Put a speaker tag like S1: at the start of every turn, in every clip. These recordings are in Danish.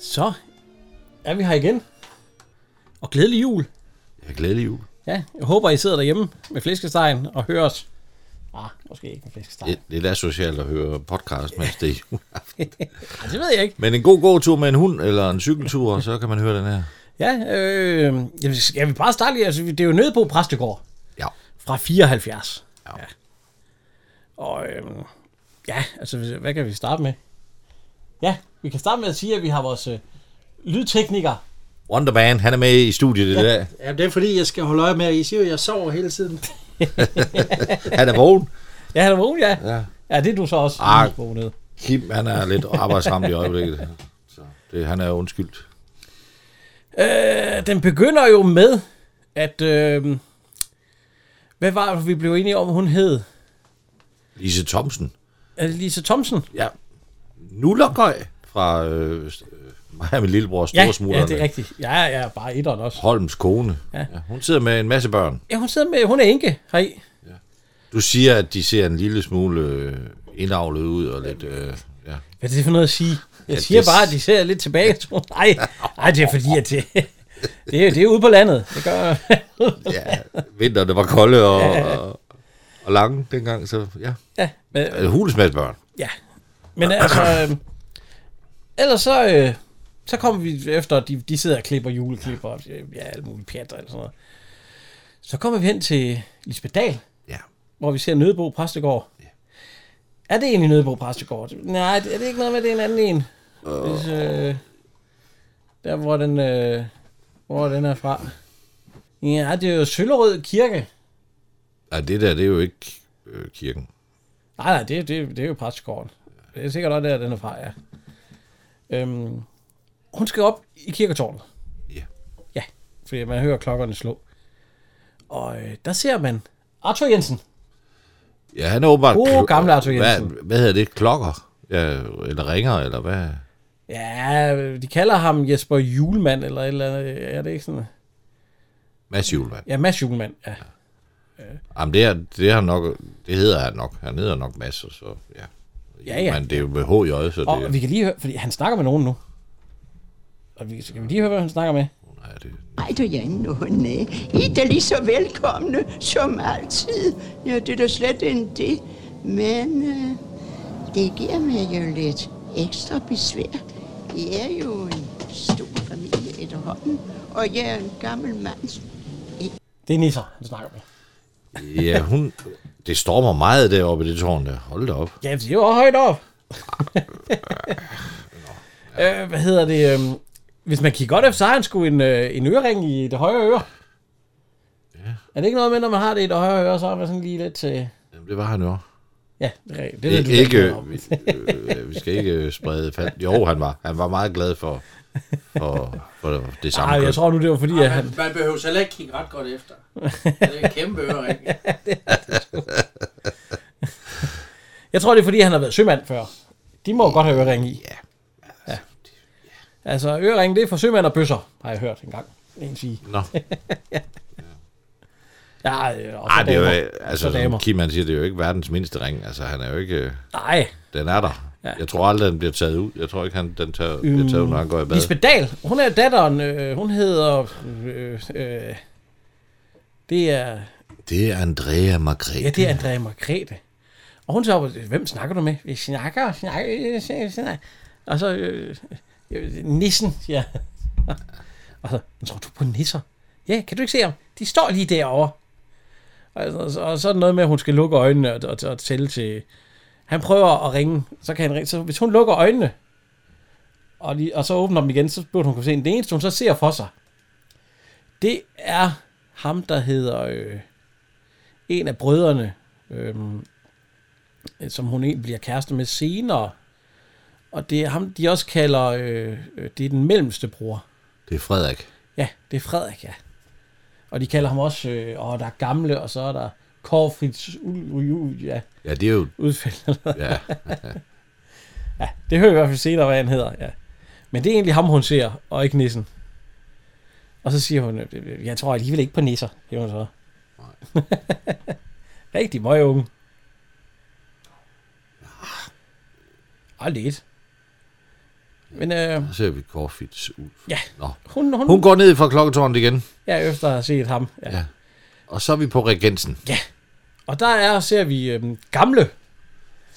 S1: Så er vi her igen. Og glædelig jul.
S2: Ja, glædelig jul.
S1: Ja, jeg håber, I sidder derhjemme med flæskestegen og hører os. Ah, måske ikke med flæskestegen.
S2: Det, det er da socialt at høre podcast, mens det er jul.
S1: Ja, det ved jeg ikke.
S2: Men en god gåtur med en hund eller en cykeltur, så kan man høre den her.
S1: Ja, øh, jeg, vil, jeg vil bare starte lige. Altså, det er jo nede på Præstegård
S2: Ja.
S1: fra 74.
S2: ja.
S1: Og øh, ja, altså, hvis- hvad kan vi starte med? Ja, vi kan starte med at sige, at vi har vores øh, lydtekniker.
S2: Wonderman, han er med i studiet i dag.
S3: Jamen, det er fordi, jeg skal holde øje med, at I siger, at jeg sover hele tiden.
S2: Han er vågen.
S1: Ja, han er vågen, ja.
S2: Ja.
S1: Ja, det er du så også.
S2: Ah.
S1: Lille Bo, nede.
S2: Kim, han er lidt arbejdsramt i øjeblikket. Så det, han er undskyldt.
S1: Øh, den begynder jo med, at... Øh, hvad var det, vi blev enige om, hun hed?
S2: Lise Thomsen.
S1: Er det Lise Thomsen?
S2: Ja. Nullergøj fra øh, øh, mig og min lillebror
S1: Ja,
S2: Storsmutterne.
S1: ja, det er rigtigt. Ja, ja, bare etteren også.
S2: Holms kone. Ja. ja. Hun sidder med en masse børn.
S1: Ja, hun sidder med, hun er enke heri.
S2: Du siger, at de ser en lille smule øh, indavlet ud og lidt... Øh, ja.
S1: Hvad er det for noget at sige? Jeg
S2: Ja,
S1: siger
S2: det-
S1: bare, at de ser lidt tilbage. Nej, nej, det er fordi, at det, det, er, det er ude på landet. Det gør,
S2: ja, vinterne var kolde og, og, og lange dengang, så ja.
S1: ja, men,
S2: Øh, Hules med børn.
S1: ja. men altså, øh, ellers så, øh, så kommer vi efter, at de, de sidder og klipper juleklipper, og øh, ja, alt muligt pjat og alt sådan noget. Så kommer vi hen til Lisbeth Dahl,
S2: Ja.
S1: hvor vi ser Nødebo Præstegård. Er det egentlig Nødebo Præstegård? Nej, det- er det ikke noget med, at det er en anden en? Hvis, øh, der, hvor den, øh, hvor den er fra. Ja, det er jo Søllerød Kirke.
S2: Nej, det der, det er jo ikke øh, kirken.
S1: Nej, nej, det, det, det er jo Præstegården. Det er sikkert også der, den er fra, ja. Øhm, hun skal op i kirketårnet.
S2: Ja.
S1: Ja, fordi man hører klokkerne slå. Og øh, der ser man Arthur Jensen.
S2: Ja, han er åbenbart...
S1: Gode
S2: klo-
S1: gamle Arthur Jensen.
S2: Hvad, hvad hedder det? Klokker? Ja, eller ringer, eller hvad?
S1: Ja, de kalder ham Jesper Julemand, eller et eller andet. Er det ikke sådan?
S2: Mads Julemand.
S1: Ja, Mads Julemand. Ja.
S2: Jamen, det, er, det, er han nok, det hedder han nok. Han hedder nok Mads, og så ja.
S1: Ja, ja.
S2: Men det er jo med HJ, så
S1: Og
S2: det...
S1: vi kan lige høre, fordi han snakker med nogen nu. Og vi, så kan vi lige høre, hvad han snakker med.
S2: Nej, det
S4: Ej, du Jan, åh nej. I er da lige så velkomne som altid. Ja, det er da slet ikke det. Men øh, det giver mig jo lidt ekstra besvær. I er jo en stor familie efterhånden, og jeg er en gammel mand.
S1: Det er Nisser, han snakker med.
S2: ja, hun... Det stormer meget deroppe i det tårn der. Hold da op.
S1: Ja, det er jo højt op. øh, hvad hedder det? øhm, Hvis man kigger godt efter, så har han sgu en, øh, en ørering i det højre øre. Er det ikke noget med, når man har det i det højre øre, så er man sådan lige lidt til...
S2: Jamen, det var han jo.
S1: Ja, det er rigtigt. Det ved
S2: Det
S1: du
S2: er ikke,
S1: lidt mere om.
S2: vi, øh, vi skal ikke øh, sprede fald. Jo, han var, han var meget glad for, for, for det samme.
S1: Ej, jeg
S2: køn.
S1: tror nu, det var fordi, at han...
S3: Man, man behøver heller ikke kigge ret godt efter. Det er kæmpe øring.
S1: Jeg tror, det er, fordi han har været sømand før. De må jo godt have ørering i. Ja. ja. Altså, ørering, det er for sømand og bøsser, har jeg hørt engang. En sige.
S2: Nå,
S1: Ja, øh, og så
S2: Ej, det er jo,
S1: damer.
S2: øh, altså,
S1: Så damer.
S2: som Kim han siger, det er jo ikke verdens mindste ring. Altså, han er jo ikke, øh,
S1: Nej,
S2: den er der. Jeg tror aldrig, den bliver taget ud. Jeg tror ikke, han, den tager, bliver taget ud,
S1: Mm.
S2: når han går i bad.
S1: Lisbeth Dahl, hun er datteren, øh, hun hedder... Øh, øh, det er...
S2: Det er Andrea Margrethe.
S1: Ja, det er Andrea Margrethe. Og hun så op, hvem snakker du med? Vi snakker, snakker, snakker, snakker. Og så... Øh, øh, nissen, ja. Og så, "Men tror du på nisser? Ja, kan du ikke se ham? De står lige derovre. Og, og, og så er der noget med, at hun skal lukke øjnene og, og, og tælle til... Han prøver at ringe, så kan han ringe. Så hvis hun lukker øjnene, og, lige, og så åbner dem igen, så burde hun kunne se en. Det eneste, hun så ser for sig, det er ham, der hedder øh, en af brødrene. Øhm, øh, som hun egentlig bliver kærester med senere. Og det er ham, de også kalder, øh, øh, det er den mellemste bror.
S2: Det er Frederik.
S1: Ja, det er Frederik, ja. Og de kalder ham også, øh, åh, der er gamle, og så er der Korfrits Ulf, ja,
S2: Ja, det er jo...
S1: udfald. eller hvad.
S2: Ja,
S1: ja, det hører vi i hvert fald senere, hvad han hedder, ja. Men det er egentlig ham, hun ser, og ikke nissen. Og så siger hun, øh, jeg tror alligevel ikke på nisser, siger hun så. Rigtig møgunge.
S2: Ah.
S1: Og lidt. Men øh,
S2: så ser vi Corfits Ulf.
S1: Ja.
S2: Nå.
S1: hun, hun,
S2: Hun går ned fra klokketårnet igen,
S1: ja, efter at have set ham. Ja.
S2: Ja. og så er vi på Regensen.
S1: Og der er, ser vi øh, gamle,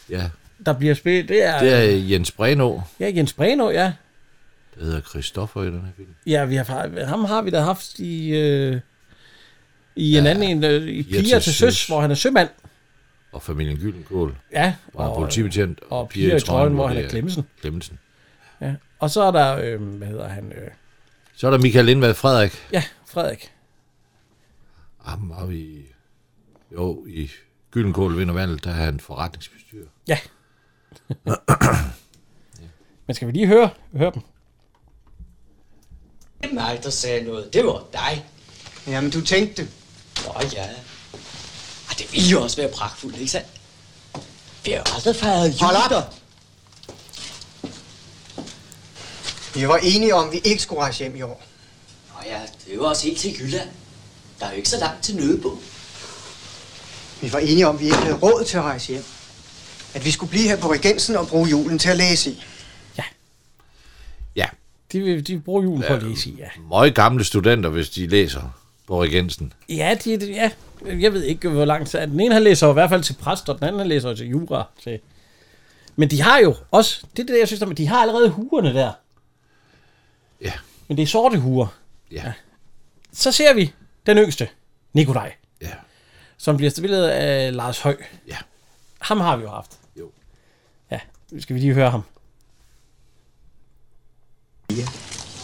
S2: Ja,
S1: der bliver spillet. Det er,
S2: det er Jens Breno.
S1: ja, Jens Breno, ja.
S2: Det hedder Christoffer i den her film.
S1: Ja, vi har, fra- ham har vi da haft i, øh, i en ja, anden en, øh, i Piger til Søs, hvor han er sømand.
S2: Og familien Gyldenkål.
S1: Ja,
S2: Og, og politibetjent.
S1: og Piger i trøjen, hvor han
S2: det
S1: er Klemmensen.
S2: Klemmensen.
S1: Ja. Og så er der, øh, hvad hedder han, øh,
S2: Så er der Michael Lindvad Frederik.
S1: ja, Frederik.
S2: Ham har vi... Jo, i Gyldenkål vinder valget, der er han forretningsbestyrer.
S1: Ja. Men skal vi lige høre, høre dem?
S5: Det var mig, der sagde noget. Det var dig.
S6: Jamen, du tænkte.
S5: Nå ja. Og det ville jo også være pragtfuldt, ikke sandt? Vi har jo aldrig fejret jul.
S6: Hold op!
S5: der.
S6: Vi var enige om, at vi ikke skulle rejse hjem i år.
S5: Nå ja, det er jo også helt til Jylland. Der er jo ikke så langt til Nødebo.
S6: Vi var enige om, at vi ikke havde råd til at rejse hjem. At vi skulle blive her på Regensen og bruge julen til at læse i.
S2: Ja,
S1: De, vil- de bruger julen på at læse i, ja.
S2: møg gamle studenter, hvis de læser på Regensen.
S1: Ja, de, de, ja, jeg ved ikke, hvor langt. så- Den ene han læser jo i hvert fald til præst, og den anden han læser jo til jura. Til. Men de har jo også, det er det, jeg synes, at de har allerede huerne der.
S2: Ja,
S1: Men det er sorte huer.
S2: ja,
S1: Så ser vi den yngste, Nikolaj,
S2: ja,
S1: som bliver spillet af Lars Høj.
S2: ja.
S1: Ham har vi jo haft.
S2: Jo.
S1: Ja, nu skal vi lige høre ham.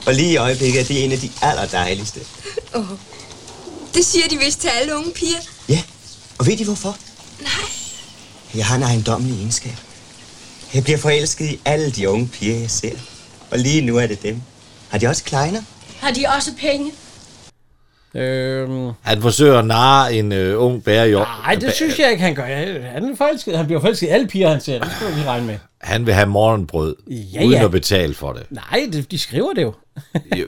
S7: Og lige i øjeblikket er det en af de allerdejligste.
S8: Det siger de vist til alle unge piger.
S7: Ja, og ved I hvorfor? Nej. Jeg har en ejendommelig egenskab. Jeg bliver forelsket i alle de unge piger, jeg ser. Og lige nu er det dem. Har de også kleiner?
S8: Har de også penge?
S1: Øhm,
S2: Han forsøger at narre en øh, ung bærer i år.
S1: nej, det synes jeg ikke, han gør. Han er forelsket. Han bliver forelsket i alle piger, han ser. Det skal vi lige regne med.
S2: Han vil have morgenbrød,
S1: Ja,
S2: uden
S1: ja.
S2: at betale for det.
S1: Nej, det, de skriver det jo.
S2: Jo,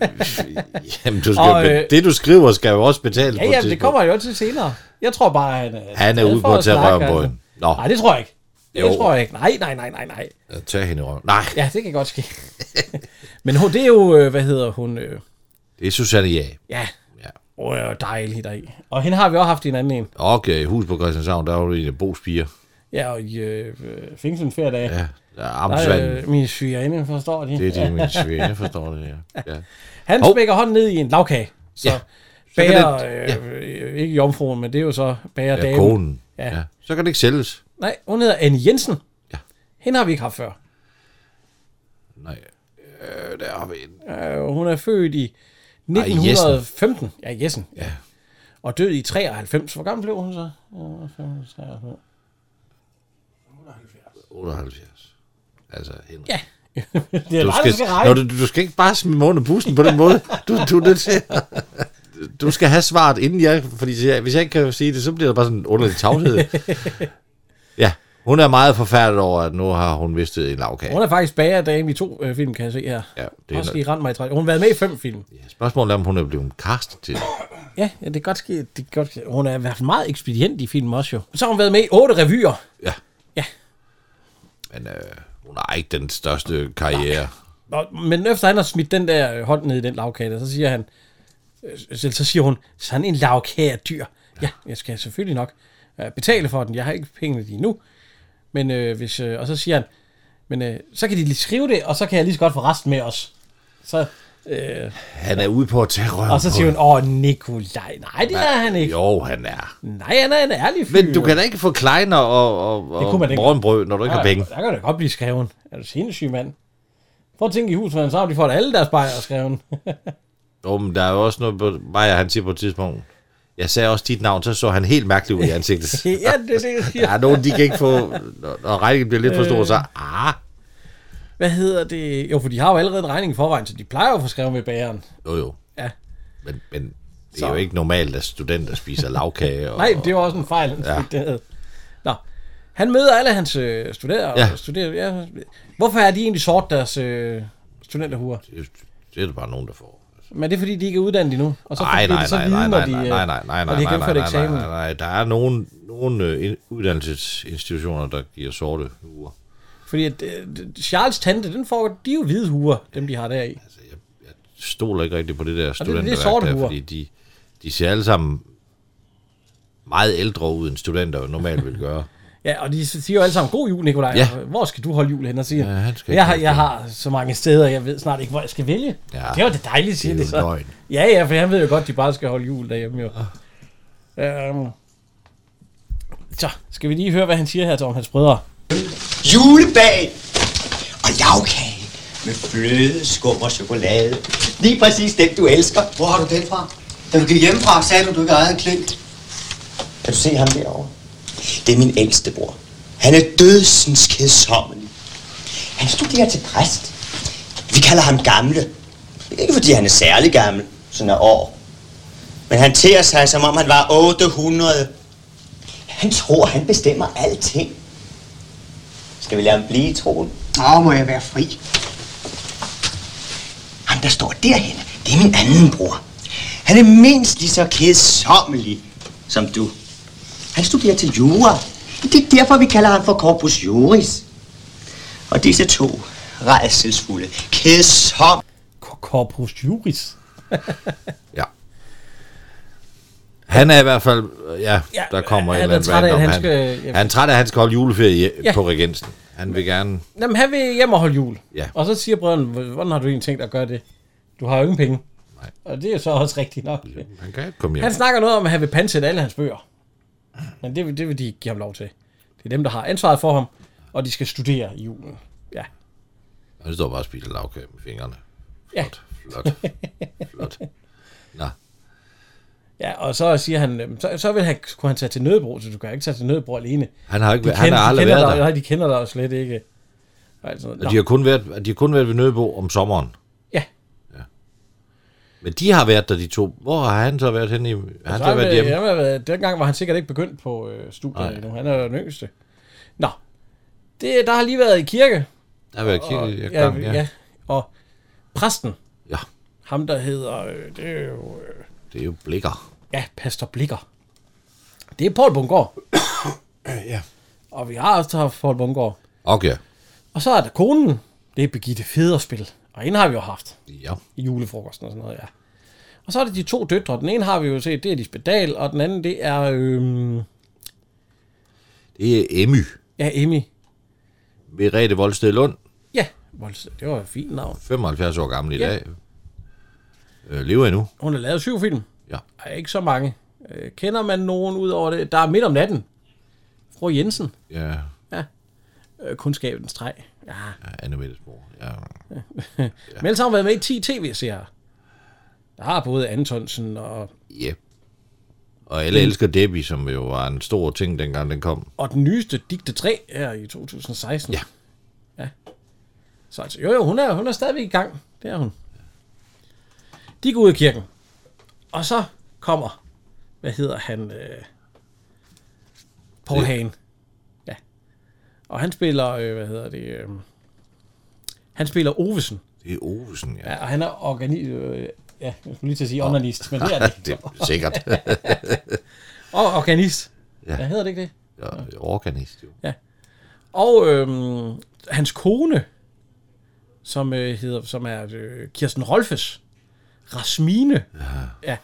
S2: Jamen, du skal,
S1: Og,
S2: og,
S1: øh,
S2: øh, det du skriver skal jo også betales
S1: Ja,
S2: på et
S1: ja, det
S2: tidspunkt.
S1: kommer han jo til senere. Jeg tror bare, han er...
S2: Han er
S1: glad
S2: ude
S1: for
S2: på at tage
S1: snakke,
S2: røven på
S1: altså.
S2: hende. Nå.
S1: Nej, det tror jeg ikke. Det
S2: Jo.
S1: tror jeg ikke. Nej, nej, nej, nej, nej.
S2: Jeg tager hende i røven. Nej,
S1: Ja, det kan godt ske. Men hun, det er jo, øh, hvad hedder hun? øh,
S2: det er Susanne Ja.
S1: Ja,
S2: ja.
S1: Åh, oh, ja, dejlig deri. Og hende har vi også haft i en anden en.
S2: Okay, hus øh, på Christianshavn, der var du en af Bo's piger.
S1: Ja, og i øh, fængslen flere dage.
S2: Ja, der er
S1: Der,
S2: Amtsvand.
S1: øh, min sygerinde, forstår de.
S2: Det er det, min svigerinde forstår det, ja. ja.
S1: Han
S2: Hov.
S1: smækker hånden ned i en lavkage. Så ja.
S2: Ja. kan
S1: bager,
S2: det-
S1: øh, øh, ikke jomfruen, men det er jo så bager
S2: Ja,
S1: damen.
S2: konen.
S1: Ja.
S2: Ja. ja. Så kan det ikke sælges.
S1: Nej, hun hedder Anne Jensen.
S2: Ja.
S1: Hende har vi ikke haft før.
S2: Nej, øh, der har vi en.
S1: Øh, hun er født i 1915. Ej, ja, Jessen. Ja. Og død i 93. Hvor gammel blev hun så? Ja, 95, 93.
S2: 78. Altså, Henrik.
S1: Ja. det er
S2: Du
S1: bare,
S2: skal,
S1: du skal regne.
S2: Nå, du, du skal ikke bare smide mig under bussen på den måde. Du, du, er nødt til, du skal have svaret, inden jeg... Fordi så jeg- hvis jeg ikke kan sige det, så bliver der bare sådan en underlig tavshed. Ja, hun er meget forfærdet over, at nu har hun mistet en lavkage.
S1: Hun er faktisk bagerdame i to øh, film, kan jeg se her.
S2: Ja, det
S1: Det
S2: er
S1: er Også
S2: noget-
S1: i Rand mig i træ. Hun har været med i fem film.
S2: Ja, Spørgsmålet er, om hun er blevet castet til det.
S1: Ja, ja det kan godt ske. Det kan godt ske. Hun er i hvert fald meget ekspedient i film også jo. Så har hun været med i otte revyer.
S2: Ja.
S1: Ja.
S2: Men øh, hun har ikke den største karriere.
S1: Og, men efter han har smidt den der øh, hånd ned i den lavkage, så siger han, øh, så så siger hun, sådan en lavkage er dyr. Ja, jeg skal selvfølgelig nok øh, betale for den. Jeg har ikke pengene lige nu. Men øh, hvis, øh, og så siger han, men øh, så kan de lige skrive det, og så kan jeg lige så godt få resten med os. Så, øh,
S2: Han er ude på at tage røven
S1: og så
S2: på
S1: siger hun,
S2: hende.
S1: åh, Nikolaj, nej, det er han ikke.
S2: Jo, han er.
S1: Nej, han er en ærlig fyr.
S2: Men du kan da ikke få kleiner og, og, og
S1: kunne man ikke.
S2: morgenbrød, når du ikke har penge.
S1: Der kan da godt blive skreven. Er du sindssyg, mand? Prøv at tænke i huset, så har de fået alle deres bajere skreven.
S2: Jo, men der er jo også noget på... Maja, han siger på et tidspunkt, Jeg sagde også dit navn, så så han helt mærkelig ud i ansigtet.
S1: Ja, det er det, jeg
S2: Der
S1: siger.
S2: er nogen, de kan ikke få... Når, når regningen bliver lidt for stor, så... Ah,
S1: Hvad hedder det? Jo, for de har jo allerede en regning i forvejen, så de plejer jo at få skrevet med bageren.
S2: jo jo.
S1: Ja.
S2: Men, men det
S1: Så.
S2: er jo ikke normalt, at studenter spiser lavkage. Og,
S1: Nej, det var også en fejl. Han
S2: Ja.
S1: fik derned. Nå. Han møder alle hans øh, studerende.
S2: Ja.
S1: Ja. studerende ja. Hvorfor er de egentlig sort deres øh, studenterhuer?
S2: Det, det er der bare nogen, der får.
S1: Men er det fordi, de ikke er uddannet endnu? Og så
S2: Nej,
S1: bliver
S2: nej,
S1: de så
S2: nej,
S1: vide,
S2: nej,
S1: når
S2: nej,
S1: de,
S2: nej,
S1: øh,
S2: nej, nej, nej,
S1: når de
S2: nej,
S1: ikke
S2: nej,
S1: gennemført
S2: nej, nej,
S1: eksamen.
S2: nej, nej. Der er nogen, nogen øh, ind- uddannelsesinstitutioner, der giver sorte uger.
S1: Fordi at, øh, Charles' tante, den får de er jo hvide huer, dem de har der i.
S2: Altså, jeg, jeg stoler ikke rigtig på det der
S1: det er
S2: studenterværk
S1: sorte
S2: der,
S1: huer.
S2: fordi de, de ser alle sammen meget ældre ud, end studenter jo normalt vil gøre.
S1: Ja, og de siger jo alle sammen, god jul, Nikolaj.
S2: Ja.
S1: Ja. Hvor skal du holde jul hen og siger?
S2: Ja, han skal ikke
S1: jeg, har,
S2: holde
S1: jeg har så mange steder, jeg ved snart ikke, hvor jeg skal vælge.
S2: Ja.
S1: Det var det dejlige, siger
S2: Det er
S1: de
S2: jo
S1: så.
S2: løgn.
S1: Ja, ja, for han ved jo godt, de bare skal holde jul derhjemme jo. Øhm. Så, skal vi lige høre, hvad han siger her til om hans brødre.
S9: Julebag og lavkage med fløde, skum og chokolade. Lige præcis den, du elsker.
S10: Hvor har du den fra? Da du gik hjemmefra, sagde du, du ikke ejede en klint.
S9: Kan du se ham derovre? Det er min ældste bror. Han er dødsens kedsommelig. Han studerer til præst. Vi kalder ham gamle. Ikke fordi han er særlig gammel, sådan er år. Men han tærer sig, som om han var 800. Han tror, han bestemmer alting. Skal vi lade ham blive i troen?
S10: Nå, må jeg være fri.
S9: Ham, der står derhen, det er min anden bror. Han er mindst lige så kedsommelig som du. Han studerer til jura. Det er derfor, vi kalder ham for corpus juris. Og disse to rejselsfulde, kedsom...
S1: Cor- Corpus Juris.
S2: Ja. Han er i hvert fald, øh, ja,
S1: Ja,
S2: der kommer
S1: han
S2: en
S1: er
S2: eller anden
S1: træt af, at
S2: random.
S1: han
S2: Han,
S1: skal-
S2: han er træt af, at han skal holde juleferie
S1: Ja.
S2: på regensen. Han vil gerne...
S1: Jamen, han vil hjem og holde jul.
S2: Ja.
S1: Og så siger brødrene, "Hvor- hvordan har du egentlig tænkt at gøre det? Du har jo ingen penge.
S2: Nej.
S1: Og det er jo så også rigtigt nok.
S2: Han kan ikke komme hjem.
S1: Han snakker noget om, at han vil pansætte alle hans bøger. Men det, vil- det vil de ikke give ham lov til. Det er dem, der har ansvaret for ham, og de skal studere i julen. Ja.
S2: Han står bare og spiser lavkage med fingrene.
S1: Ja.
S2: Flot, flot, flot. Nå,
S1: ja, og så siger han, øhm, så, så vil han, kunne han tage til Nødebro, så du kan ikke tage til Nødebro alene.
S2: han har, ikke,
S1: De
S2: han
S1: kender,
S2: har aldrig
S1: de kender
S2: været
S1: dig,
S2: der.
S1: Nej, de kender dig jo slet ikke. Og alt sådan
S2: Og
S1: noget.
S2: de
S1: Nå,
S2: har kun været, de har kun været ved Nødebo om sommeren.
S1: Ja.
S2: Men de har været der, de to. Hvor har han så været henne? I, han så har været hjemme.
S1: Jamen, jamen, dengang var han sikkert ikke begyndt på øh, studiet
S2: Nej.
S1: endnu. Han er jo den yngste. Nå, det, der har lige været i kirke.
S2: Der har været
S1: Og,
S2: kirke. Ja, gang, ja.
S1: og præsten,
S2: ja,
S1: ham der hedder, øh, det er jo, øh,
S2: det er jo blikker.
S1: ja, Pastor Blikker. Det er Paul Bungård.
S11: ja.
S1: Og vi har også haft Paul Bungård.
S2: Okay.
S1: Og så er der konen. Det er Birgitte Federspil. Og hende har vi jo haft.
S2: Ja.
S1: i julefrokosten og sådan noget, ja. Og så er det de to døtre. Den ene har vi jo set, det er Lisbeth Dahl, og den anden, det er, øhm,
S2: Det er Emmy.
S1: ja, Emmy.
S2: Merete Voldsted Lund,
S1: Ja, Volds- det var et fint navn.
S2: 75 år gammel i
S1: Ja.
S2: dag. Øh, lever endnu.
S1: Hun har lavet syv film.
S2: Ja.
S1: Ej, ikke så mange. Øh, kender man nogen ud over det? Der er midt om natten. Fru Jensen.
S2: Ja.
S1: Øh, kundskabens streg. Ja.
S2: ja Anne Mettes mor. Ja.
S1: ja. Men ellers har hun været med i 10 tv-serier. Der har både Antonsen og,
S2: ja. Og alle elsker Debbie, som jo var en stor ting, dengang den kom.
S1: og den nyeste, Digte 3, her i 2016.
S2: Ja.
S1: Ja. Så altså, jo, jo, hun er, hun er stadigvæk i gang. Det er hun. De går ud af kirken. Og så kommer, hvad hedder han, øh, Paul
S2: Det-
S1: Hagen. Ja. Og han spiller, øh, hvad hedder det, øh, han spiller Ovesen.
S2: Det er Ovesen, ja.
S1: Ja, og han er organi... Øh, ja, jeg skulle lige til at sige onanist, men det er det.
S2: det er sikkert.
S1: Og organist.
S2: Ja.
S1: Ja. Hvad hedder det ikke det?
S2: ja, organist, jo.
S1: Og øhm, hans kone, som, øh, hedder, som er øh, Kirsten Rolfes, Rasmine. Ja. ja.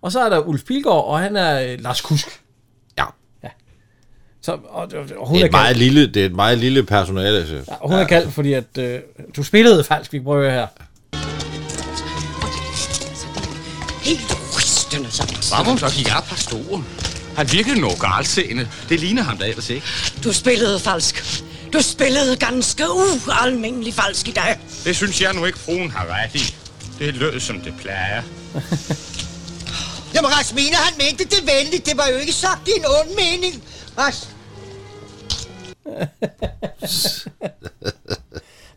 S1: Og så er der Ulf Pilgaard, og han er øh, Lars Kusk.
S2: Ja.
S1: Så, og, og, og hun
S2: Det er,
S1: er,
S2: et meget
S1: kaldt,
S2: lille, det er et meget lille personale. Altså. Ja.
S1: og hun er kaldt, fordi at, øh, du spillede falsk, vi prøver her.
S12: Helt rystende, så Hvorfor så de er par store? Han virkede noget galtseende. Det ligner ham da ellers ikke.
S13: Du spillede falsk. Du spillede ganske ualmindelig falsk i dag.
S14: Det synes jeg nu ikke, fruen har ret i. Det lød, som det plejer.
S9: Jamen, Rasmina, han mente det venligt. Det var jo ikke sagt i en ond mening. Ras...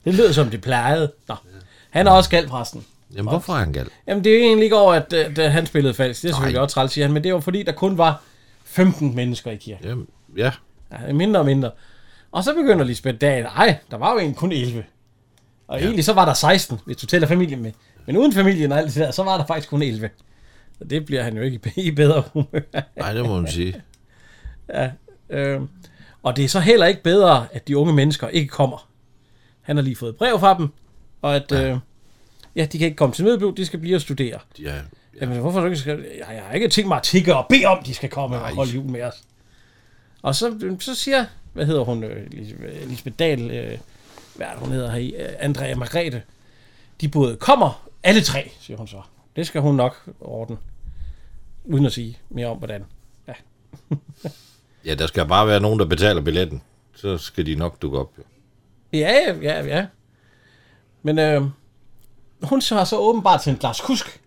S1: Det lyder som det plejede. Nå. Han er også galt præsten.
S2: Jamen, hvorfor er han gal?
S1: Jamen, det er jo egentlig ikke over, at, at, at han spillede falsk. Det er selvfølgelig også træls, siger han. Men det var fordi, der kun var 15 mennesker i kirken.
S2: Jamen, ja.
S1: ja. Mindre og mindre. Og så begynder Lisbeth Dahl. Ej, der var jo egentlig kun 11. Og ja. egentlig så var der 16, hvis du tæller familien med. Men uden familien og alt det der, så var der faktisk kun 11. Så det bliver han jo ikke i bedre humør.
S2: Nej, det må man sige.
S1: Ja, øh. Og det er så heller ikke bedre, at de unge mennesker ikke kommer. Han har lige fået et brev fra dem, og at ja. Øh, ja, de kan ikke komme til mødeblod, de skal blive og studere.
S2: Ja, ja.
S1: Jamen, hvorfor har du ikke skal... Jeg, jeg har ikke tænkt mig at tikke og bede om, de skal komme Nej. og holde jul med os. Og så, øh, så siger, hvad hedder hun, øh, Lis- øh, Lisbeth Dahl, øh, hvad er det, hun hedder her i, øh, Andrea og Margrethe, de både kommer, alle tre, siger hun så. Det skal hun nok ordne, uden at sige mere om, hvordan. Ja.
S2: Ja, der skal bare være nogen, der betaler billetten. Så skal de nok dukke op. jo.
S1: Ja, ja, ja. Men øh, hun har så åbenbart sendt Lars Kusk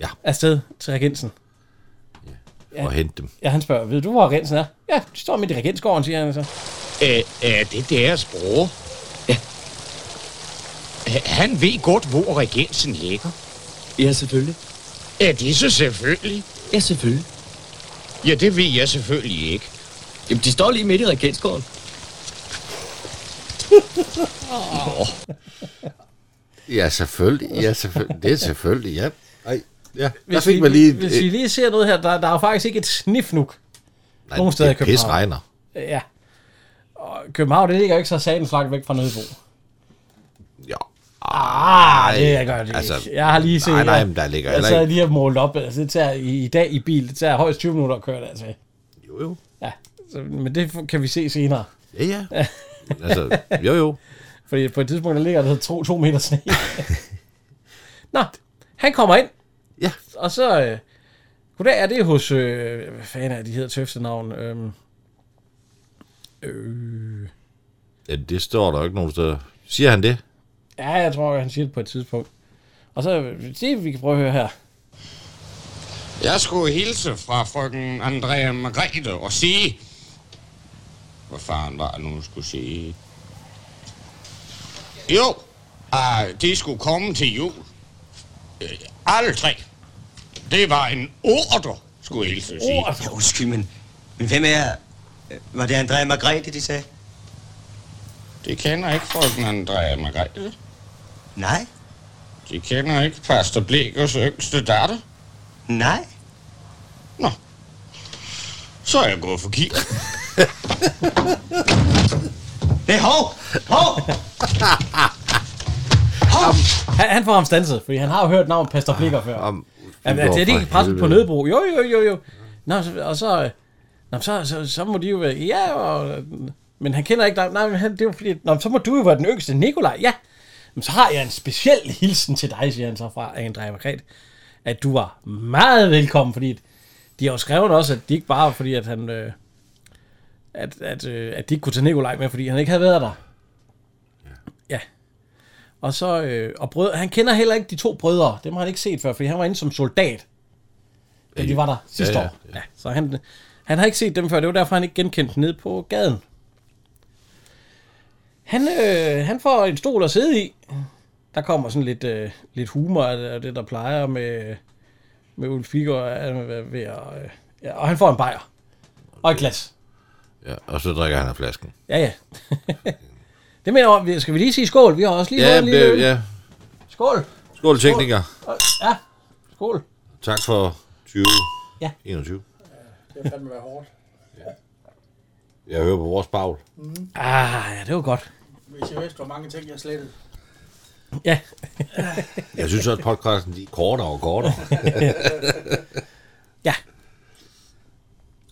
S2: ja.
S1: afsted til regensen. Ja.
S2: Og hente dem.
S1: Ja, han spørger, ved du, hvor regensen er? Ja, de står midt i regensgården, siger han så.
S5: Er, er det deres bror? Ja. Han ved godt, hvor regensen ligger. Ja, selvfølgelig. Er det så selvfølgelig? Ja, selvfølgelig. Ja, det ved jeg selvfølgelig ikke. Jamen, de står lige midt i regentskåren.
S2: Nå. Ja, selvfølgelig. Ja, selvfølgelig. Det er selvfølgelig, ja. Ej, ja. Der
S1: Hvis,
S2: fik
S1: vi,
S2: man lige...
S1: hvis vi lige ser noget her, der, der er jo faktisk ikke et snifnuk
S2: Nej,
S1: nogen steder i
S2: det
S1: København.
S2: pisregner.
S1: Ja. Og København, det ligger jo ikke så satans langt væk fra Nødebo.
S2: Ja.
S1: Ah, det er godt altså, ikke. Jeg har lige set...
S2: Nej, nej, men der ligger
S1: Jeg
S2: heller
S1: sad
S2: ikke...
S1: lige og målt op. Altså, det tager i, i dag i bil, det tager højst 20 minutter at køre det, altså.
S2: Jo, jo.
S1: Ja, så, men det kan vi se senere.
S2: Ja, ja. altså, jo, jo.
S1: Fordi på et tidspunkt, der ligger der to, to meter sne. Nå, han kommer ind.
S2: Ja.
S1: Og så... Øh, goddag, er det hos... Øh, hvad fanden er de hedder tøftenavn? Øhm, øh,
S2: Ja, det står der jo ikke nogen steder. Siger han det?
S1: ja, jeg tror, han siger det på et tidspunkt. Og så... øh, Se, vi kan prøve at høre her.
S5: Jeg skulle hilse fra frøken Andrea Margrethe og sige... Hvad faren var, nu skulle sige... Jo, ah, de skulle komme til jul. Øh, Alle tre. Det var en ordre, skulle jeg hilse at sige.
S9: Ja, undskyld, men, men hvem er... øh, Var det Andrea Margrethe, de sagde?
S5: De kender ikke frøken Andrea Margrethe.
S9: Nej.
S5: De kender ikke Pastor Blekers yngste datter.
S9: Nej.
S5: Nå. Så er jeg gået forkert.
S9: Nej, hov! Hov!
S1: Han, han får ham stanset, fordi han har jo hørt navnet Pastor Blikker før.
S2: Ah, Om,
S1: Jamen, er det
S2: Nå,
S1: ikke
S2: for
S1: pressen på
S2: helvede.
S1: Nødebro? Jo, jo, jo, jo. Nå, så, og så, øh, nå, så, så, så må de jo være... Ja, og, men han kender ikke dig. Nej, men han, det er jo fordi... Nå, så må du jo være den yngste. Nikolaj, ja. Men så har jeg en speciel hilsen til dig, siger han så fra Andrea Margrethe. At du var meget velkommen, fordi de har jo skrevet også, at de ikke bare var fordi, at han... Øh, at, at, øh, at de ikke kunne tage Nikolaj med, fordi han ikke havde været der. Ja. Og så, øh, og brød, han kender heller ikke de to brødre. Dem har han ikke set før, fordi han var inde som soldat. Da de var der sidste
S2: Ja,
S1: ja,
S2: ja,
S1: år. Ja. Så han, han har ikke set dem før. Det var derfor, han ikke genkendte dem nede på gaden. Han, øh, han får en stol at sidde i. Der kommer sådan lidt, øh, lidt humor af det- af det, der plejer med, med Ulf Figur. ved at, øh, ja, og han får en bajer. Og et glas.
S2: Ja, og så drikker han af flasken.
S1: Ja, ja. det mener jeg om. Vi- Skal vi lige sige skål? Vi har også lige
S2: Ja,
S1: fået en lille
S2: det,
S1: øl.
S2: ja.
S1: Skål.
S2: Skål, tekniker.
S1: Og- Ja, skål.
S2: Tak for 20.
S1: Ja.
S2: 21.
S3: Det fandme være hårdt.
S2: Jeg hører på vores bagl.
S1: Ah, ja, det var godt.
S3: Hvis jeg vidste, hvor mange ting jeg slettede.
S1: Ja.
S2: Jeg synes også, at podcasten de er kortere og kortere.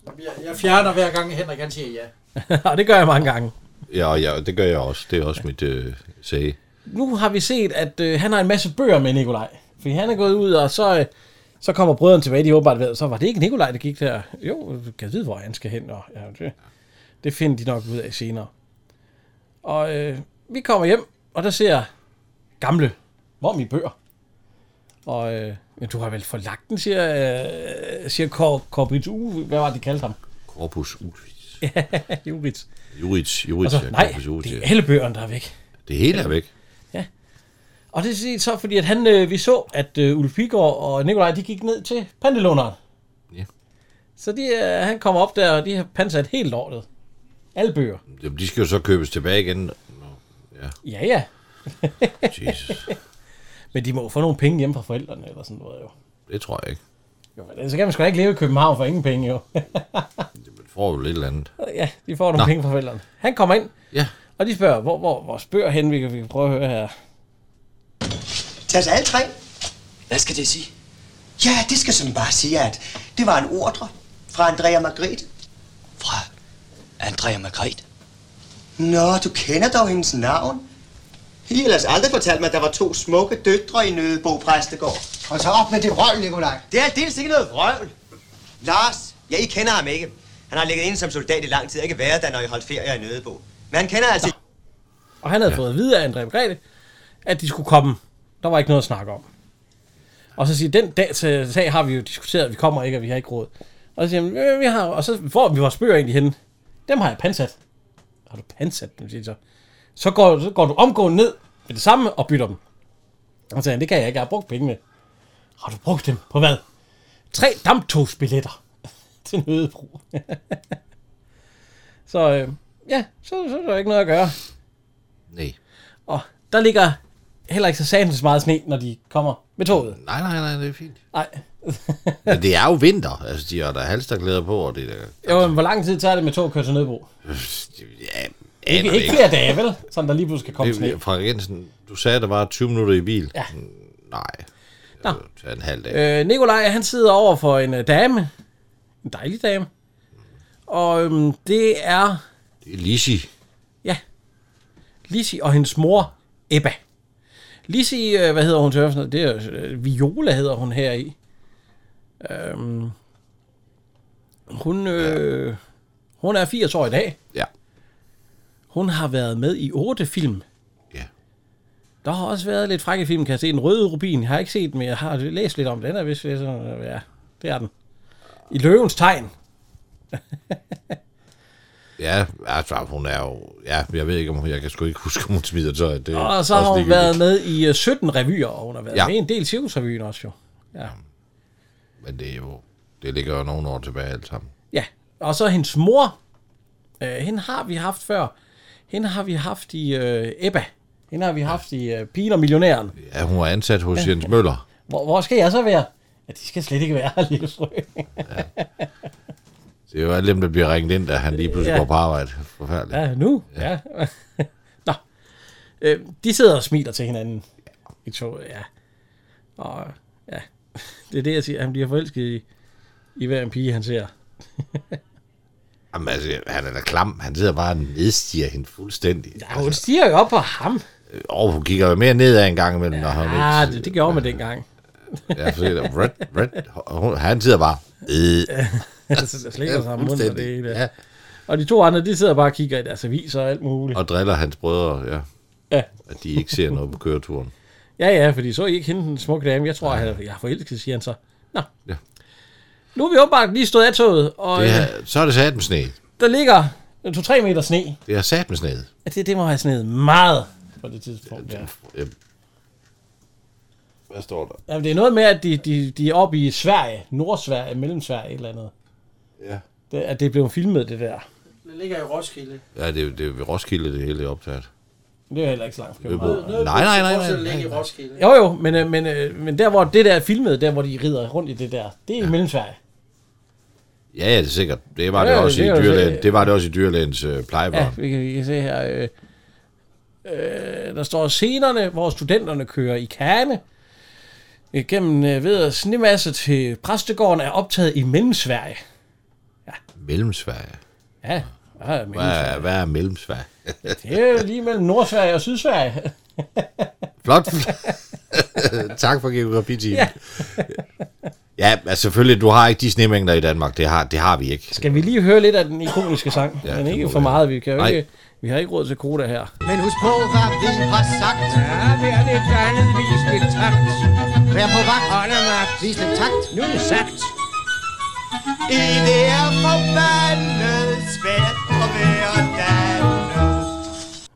S3: Jeg, jeg fjerner hver gang Henrik han siger ja.
S1: og det gør jeg mange gange.
S2: ja, og ja, det gør jeg også. Det er også mit øh, sag.
S1: Nu har vi set, at øh, han har en masse bøger med Nikolaj. Fordi han er gået ud, og så, øh, så kommer brødrene tilbage. De har åbenbart ved, så var det ikke Nikolaj, der gik der. Jo, du kan vide, hvor han skal hen. Og, ja, det, det finder de nok ud af senere. Og øh, vi kommer hjem, og der ser gamle, hvor er mine bøger? Og øh, Men du har vel forlagt den, siger, øh, siger Kor, Korbrit U. Hvad var det, de kaldte ham?
S2: Corpus Juris.
S1: Ja, Juritz.
S2: Juris, Juris.
S1: Og så,
S2: ja,
S1: Altså, nej,
S2: Corpus Juris,
S1: det
S2: ja.
S1: er alle bøgerne, der er væk.
S2: Det hele er væk.
S1: Og det er set så, fordi at han, øh, vi så, at øh, Ulf Pigård og Nikolaj, de gik ned til pantelåneren.
S2: Ja.
S1: Så de, øh, han kommer op der, og de har pansat helt lortet. Alle bøger.
S2: Jamen, de skal jo så købes tilbage igen.
S1: Ja, ja.
S2: Jesus.
S1: Men de må jo få nogle penge hjem fra forældrene, eller sådan noget jo.
S2: Det tror jeg ikke.
S1: Jo, men så kan man sgu da ikke leve i København for ingen penge, jo.
S2: Man får jo lidt eller andet.
S1: ja, de får nogle
S2: Nå.
S1: Nå. penge fra forældrene. Han kommer ind,
S2: ja.
S1: og de spørger, hvor, hvor vores bøger hen, vi kan, vi kan prøve at høre her.
S9: Tag os alle tre.
S7: Hvad skal det sige?
S9: Ja, det skal som bare sige, at det var en ordre fra Andrea Margrethe.
S7: Andrea Margrethe.
S9: Nå, du kender dog hendes navn. I har ellers aldrig fortalt mig, at der var to smukke døtre i Nødebo Præstegård.
S6: Hold så op med det røv, Nikolaj.
S9: Det er aldeles ikke noget vrøvl. Lars, ja, I kender ham ikke. Han har ligget inde som soldat i lang tid og ikke været der, når I holdt ferie i Nødebo. Men han kender altså...
S1: Og han havde ja. fået at vide af André Margrethe, at de skulle komme. Der var ikke noget at snakke om. Og så siger den dag, til- sag har vi jo diskuteret, vi kommer ikke, og vi har ikke råd. Og så siger han, "Øh, vi har, og så får vi vores bøger egentlig henne. Dem har jeg pansat. Har du pansat dem, siger de så. Så går, så går du omgående ned med det samme og bytter dem. Og så siger han, det kan jeg ikke, jeg har brugt pengene. Har du brugt dem på hvad? Tre damptogsbilletter til nødebrug. så øh, ja, så, så er der ikke noget at gøre.
S2: Nej.
S1: Og der ligger heller ikke så satans meget sne, når de kommer med toget.
S2: Nej, nej, nej, det er fint.
S1: Nej.
S2: Men det er jo vinter. Altså, de har der halsterklæder på, og det der...
S1: Jo, men hvor lang tid tager det med tog at køre til Nødbro?
S2: Ja,
S1: Ikke,
S2: aner
S1: ikke flere dage, vel? Sådan der lige pludselig skal komme sne.
S2: Det, Frank Jensen, du sagde, at der var 20 minutter i bil. Mm,
S1: Ja.
S2: Nej.
S1: Nå.
S2: Det tager en halv dag.
S1: Øh, Nikolaj, han sidder over for en øh, dame. En dejlig dame. Og øhm, det er
S2: Det er Lisi.
S1: Lisi og hendes mor, Ebba. Lisi, øh, hvad hedder hun til øvrigt? Det er øh, Viola hedder hun her i. Øhm, hun, øh, hun er 80 år i dag.
S2: Ja.
S1: Hun har været med i otte film.
S2: Ja.
S1: Der har også været lidt frække film, kan jeg se. Den røde rubin, jeg har ikke set den, men jeg har læst lidt om den. Den er vist, vist- ja, det er den. I løvens tegn.
S2: Ja, altså, hun er jo... Ja, jeg ved ikke, om hun... Jeg kan sgu ikke huske, om hun smider tøj. Det er
S1: Og så
S2: også
S1: har hun
S2: ligegyldigt.
S1: været med i øh, 17 revyer, og hun har været
S2: Ja.
S1: ja. med i en del cirkusrevyen også jo. Ja.
S2: Men det er jo... Det ligger jo nogle år tilbage alt sammen.
S1: ja. Og så hendes mor, øh, hende har vi haft før. Hende har vi haft i øh, Ebba. Hende har vi haft i øh, Pigen og Millionæren.
S2: Ja, hun var ansat hos Jens Møller.
S1: Hvor, hvor skal jeg så være? Ja, de skal slet ikke være her, lille frø.
S2: Det er jo alle dem, der bliver ringet ind, da han lige pludselig
S1: Ja.
S2: ja. går på arbejde. Forfærdeligt.
S1: Ja, nu. Ja. ja. Nå. Øh, de sidder og smiler til hinanden. I to, ja. Og ja, det er det, jeg siger. Han bliver forelsket i, i hver en pige, han ser.
S2: Jamen, altså, han er da klam. Han sidder bare og nedstiger hende fuldstændig. Ja.
S1: Og hun stiger jo op på ham.
S2: Og hun kigger jo mere nedad en gang imellem, ja, når han
S1: Ja, det, det gjorde man dengang.
S2: Ja, for det er red, red, og hun- han sidder bare... Øh.
S1: altså, der slikker sig om munden og det
S2: fuldstændig.
S1: hele.
S2: Ja.
S1: Ja. Og de to andre, de sidder bare og kigger i deres aviser og alt muligt.
S2: Og driller hans brødre, ja.
S1: Ja.
S2: At de ikke ser noget på køreturen.
S1: Ja, ja, fordi så I ikke hende den smukke dame. Jeg tror, han, jeg er forelsket, siger han så. Nå.
S2: Ja.
S1: Nu er vi åbenbart lige stået af toget, og
S2: Det
S1: ja.
S2: er, så er det sat med sne.
S1: der ligger 2-3 meter sne.
S2: Det er sat med sne.
S1: Ja, det, det må have sneet meget på det tidspunkt. Ja.
S2: Øhm. Hvad står der?
S1: Jamen, det er noget med, at de, de, de er oppe i Sverige, Nordsverige, Mellemsverige, et eller andet.
S2: Ja.
S1: Det, at det blev filmet, det der.
S3: Den ligger i Roskilde.
S2: Ja, det er, jo- det er jo ved Roskilde, det hele er optaget.
S1: Det er heller ikke så langt. fra
S2: Øbo.
S1: København.
S2: Nej, nej, nej, nej,
S3: Den
S2: nej.
S3: ligger i Roskilde.
S1: Jo, jo, men, øh, men, øh, men der, hvor det der er filmet, der, hvor de rider rundt i det der, det er i Mellemsverige.
S2: Ja, ja, det er sikkert. Det var
S1: Ja,
S2: det
S1: ja,
S2: også
S1: det
S2: i
S1: er jo
S2: dyrlægen.
S1: det.
S2: Det var det også i dyrlægens øh,
S1: Ja,
S2: plejebarn.
S1: vi kan, vi kan se her. Øh, øh, der står scenerne, hvor studenterne kører i kane. øh, Gennem øh, ved at snemasse til præstegården er optaget i Mellemsverige.
S2: Mellemsverige.
S1: Ja, ja, ja Mellemsverige.
S2: Hvad, hvad er Mellemsverige?
S1: Det er jo lige mellem Nordsverige og Sydsverige.
S2: Flot. tak for geografi ja. Ja, altså selvfølgelig, du har ikke de snemængder i Danmark. Det har, det har vi ikke.
S1: Skal vi lige høre lidt af den ikoniske sang? Ja, Men ikke for meget, vi kan jo
S2: Nej.
S1: ikke... Vi har ikke råd til koda her.
S6: Men husk på, hvad vi har sagt. Ja, vi er lidt andet, vi skal takt. Vær på vagt. Ånder magt. Vis lidt takt. Nu er det sagt.
S3: I det er forbandet svært at være dannet.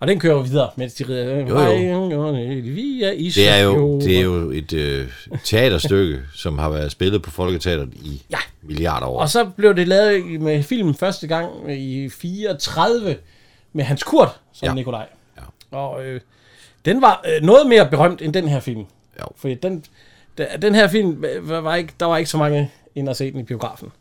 S1: Og den kører jo videre, mens de rider.
S2: jo.
S1: Vi er i
S2: Det er jo,
S1: Sovjet.
S2: det er jo et øh, teaterstykke, som har været spillet på Folketeateret i ja. milliarder år.
S1: Og så blev det lavet i- med film første gang i 34 med Hans Kurt som ja. Nikolaj. Ja. Og øh, den var øh, noget mere berømt end den her film.
S2: Jo.
S1: Fordi den, da- den her film, øh, var var ikke, der var ikke så mange ind og se den i biografen.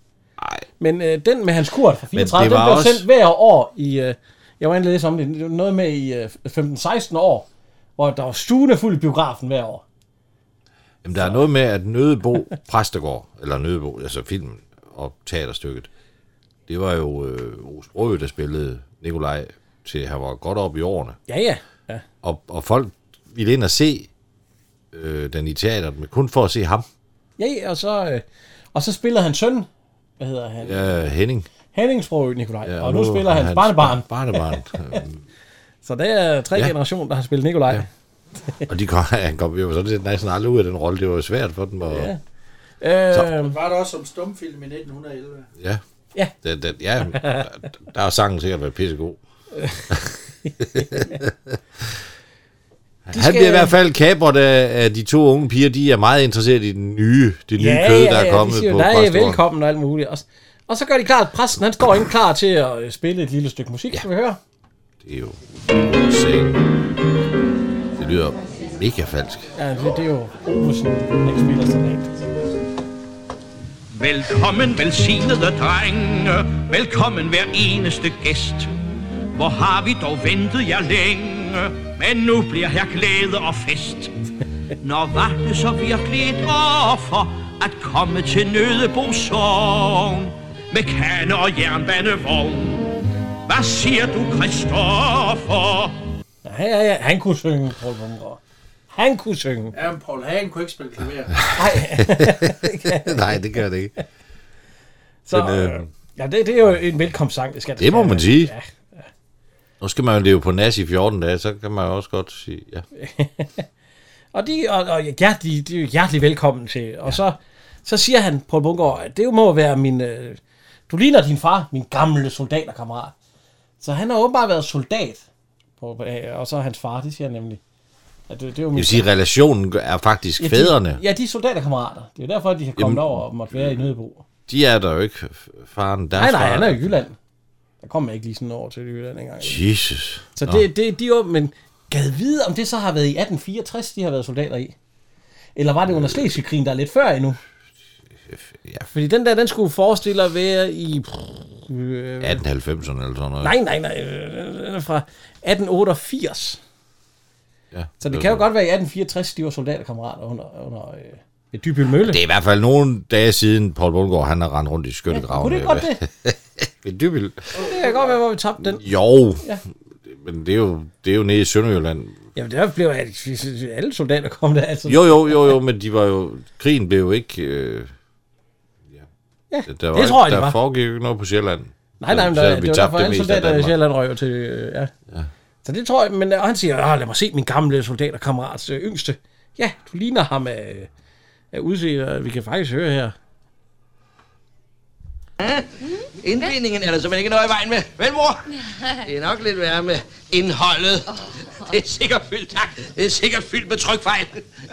S2: Nej.
S1: Men øh, den med Hans Kurt fra
S2: Men
S1: 34, den
S2: det
S1: blev
S2: var
S1: også...
S2: også-
S1: sendt hver år i... Øh, jeg var inde og læse om det. det var noget med i øh, 15-16 år, hvor der var stuende fuld i biografen hver år.
S2: Jamen, der er noget med, at Nødebo Præstegård, eller Nødebo, altså filmen og teaterstykket, det var jo øh, Rose Brø, der spillede Nikolaj til, han var godt op i årene.
S1: Ja, ja. ja.
S2: Og, og folk ville ind og se øh, den i teateret, men kun for at se ham.
S1: Ja, ja, og så, øh, og så spiller han søn. Hvad hedder han?
S2: Ja, Henning.
S1: Henningsbrød, Nikolaj. Ja, og, og nu, nu spiller han hans barnebarn.
S2: Barnebarn.
S1: Så der er tre ja.
S2: Ja.
S1: generationer, der har spillet Nikolaj. Ja.
S2: og de kom, han kom jo sådan set næsten aldrig ud af den rolle. Det var jo svært for dem. Og,
S1: Ja.
S2: ja.
S1: Øh,
S3: Var der også som stumfilm i 1911?
S2: Ja.
S1: Ja.
S2: Den, den, ja der, der har sangen sikkert været pissegod. Han
S1: skal-
S2: bliver i hvert fald kapret af, af de to unge piger. De er meget interesseret i den nye, det nye ja, kød, der er kommet
S1: de siger,
S2: på
S1: der er
S2: præstegården."
S1: velkommen og alt muligt. Og, og så gør de klart, at præsten han står ikke klar til at øh, spille et lille stykke musik, ja. skal vi høre.
S2: Det er jo insane. Det lyder mega falsk.
S1: Ja, det, det er jo Olsen, der spiller sådan
S15: Velkommen, velsignede drenge. Velkommen hver eneste gæst. Hvor har vi dog ventet jer længe, men nu bliver her glæde og fest. Når var det så virkelig et offer at komme til Nødebo Sogn med kande og jernbanevogn? Hvad siger du, Kristoffer?
S1: Ja, ja, ja, han kunne synge, Paul Bumgaard. Han kunne synge.
S3: Ja, men Paul Hagen kunne ikke spille klaver.
S2: Nej, det gør det ikke.
S1: Så,
S2: Men, øh,
S1: øh, ja, det, det er jo en velkomstsang, det skal
S2: Det må man sige.
S1: Ja,
S2: Nu skal man jo leve på nas i 14 dage, så kan man jo også godt sige, ja.
S1: Og, de, og, og ja, de, de er jo hjertelig velkommen til. Og ja. så, så siger han, Poul Bungård, at det må være min... Øh, du ligner din far, min gamle soldaterkammerat. Så han har åbenbart været soldat. På, øh, og så er hans far, det siger han nemlig. At det, det er jo
S2: Det
S1: min
S2: vil sige, at relationen er faktisk
S1: Ja,
S2: fædrene.
S1: de, ja, de er soldaterkammerater. Det er jo derfor, de har kommet
S2: Jamen-
S1: over og måtte være i Nødebo.
S2: De er der jo ikke, f- faren. Deres
S1: Nej, nej,
S2: far.
S1: han er i Jylland. Der kom jeg ikke lige sådan over til Jylland engang.
S2: Jesus.
S1: Så
S2: Nå.
S1: det, det, de jo, men gad vide, om det så har været i 1864, de har været soldater i. Eller var det under Slesvigkrigen, der er lidt før endnu?
S2: Øh. Ja.
S1: Fordi den der, den skulle forestille at være i... Øh,
S2: 1890'erne eller sådan noget.
S1: nej, nej, nej. øh, Den er fra 1888.
S2: Ja,
S1: Så det
S2: er
S1: kan jo godt være i 1864, de var soldaterkammerater under, under øh, et dybyl mølle.
S2: Det er i hvert fald nogle dage siden, Paul Bundgaard, han har rendt rundt i
S1: kunne
S2: skyttegravene.
S1: det godt det?
S2: Ved Dybbøl.
S1: Det kan godt være, hvor vi tabte den.
S2: Jo,
S1: Ja.
S2: ja. men det er, jo, det er jo nede i Sønderjylland.
S1: Jamen, der blev alle- alle soldater kom der. Altså.
S2: Jo, jo, jo, jo, men de var jo, krigen blev jo ikke... Øh,
S1: Ja,
S2: der
S1: det tror jeg,
S2: der
S1: det var.
S2: foregik jo ikke noget på Sjælland.
S1: Nej, nej, men
S2: Selvom
S1: der, det var derfor, alle
S2: meste af
S1: soldater i
S2: Danmark.
S1: Sjælland røg jo til, øh, ja. ja. Så det tror jeg, men øh, og han siger, "Åh, lad mig se min gamle soldaterkammerats øh, yngste. Ja, du ligner ham af, af udseende, og vi kan faktisk høre her.
S16: Indvindingen er der simpelthen ikke noget i vejen med. Vel, mor? Det er nok lidt værre med indholdet. Det er sikkert fyldt, tak. Det er sikkert fyldt med trykfejl.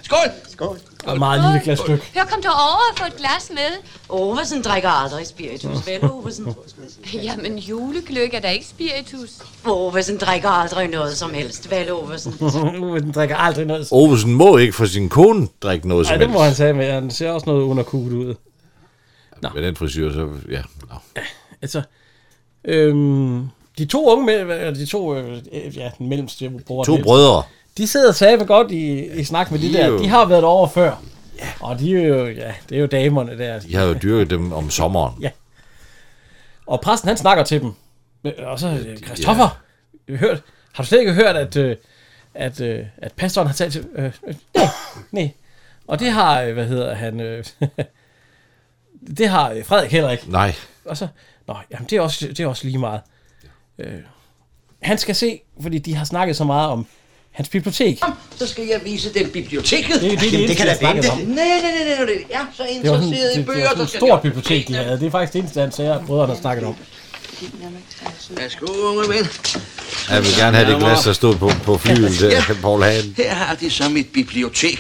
S16: Skål! Skål.
S1: Og et meget lille glas stykke.
S17: Hør, kom derover og få et glas med.
S18: Ovesen drikker aldrig spiritus, vel, Ovesen?
S17: Jamen, julegløk er da ikke spiritus.
S18: Ovesen drikker aldrig noget som helst, vel, Ovesen?
S1: øh, den drikker aldrig noget.
S2: Ovesen må ikke få sin kone drikke noget
S1: Nej,
S2: som
S1: det
S2: helst.
S1: må han sige med. Han ser også noget underkuget ud.
S2: Med den frisyr, så... Ja, nå.
S1: Altså, øhm, de to unge mænd, eller de to, øh, øh, ja, den mellemste bror.
S2: To
S1: Niels,
S2: brødre.
S1: De sidder sabe godt i, i snak med de,
S2: De
S1: der.
S2: er jo-
S1: De har været over før. Og de er jo, ja, det er jo damerne der.
S2: De har jo dyrket dem om sommeren.
S1: Ja. Og præsten, han snakker til dem. Og så, øh, Christoffer, ja. hørt, har du slet ikke hørt, at, øh, at, øh, at pastoren har talt til... Øh, øh, nej, nej. Og det har, øh, hvad hedder han, øh, det har øh, Frederik heller ikke.
S2: Nej.
S1: Og så, nå, jamen det er også, det er også lige meget. Øh, han skal se, fordi de har snakket så meget om hans bibliotek.
S9: Kom, så skal jeg vise dem biblioteket.
S1: Det- det- det- Jamen, det kan da det- vente.
S9: Nej, nej, nej, nej, nej. Jeg er så
S1: Det var sådan,
S9: interesseret i
S1: det, det
S9: bøger,
S1: var sådan
S9: der
S1: et
S9: skal...
S1: stort bibliotek, de havde. Det er faktisk det eneste, han sagde, at brødrene har snakket om.
S9: Værsgo, unge mænd.
S2: Jeg vil gerne have det glas, der stod på, på flyet, der,
S9: Ja.
S2: Paul Hagen.
S9: Her har de så mit bibliotek.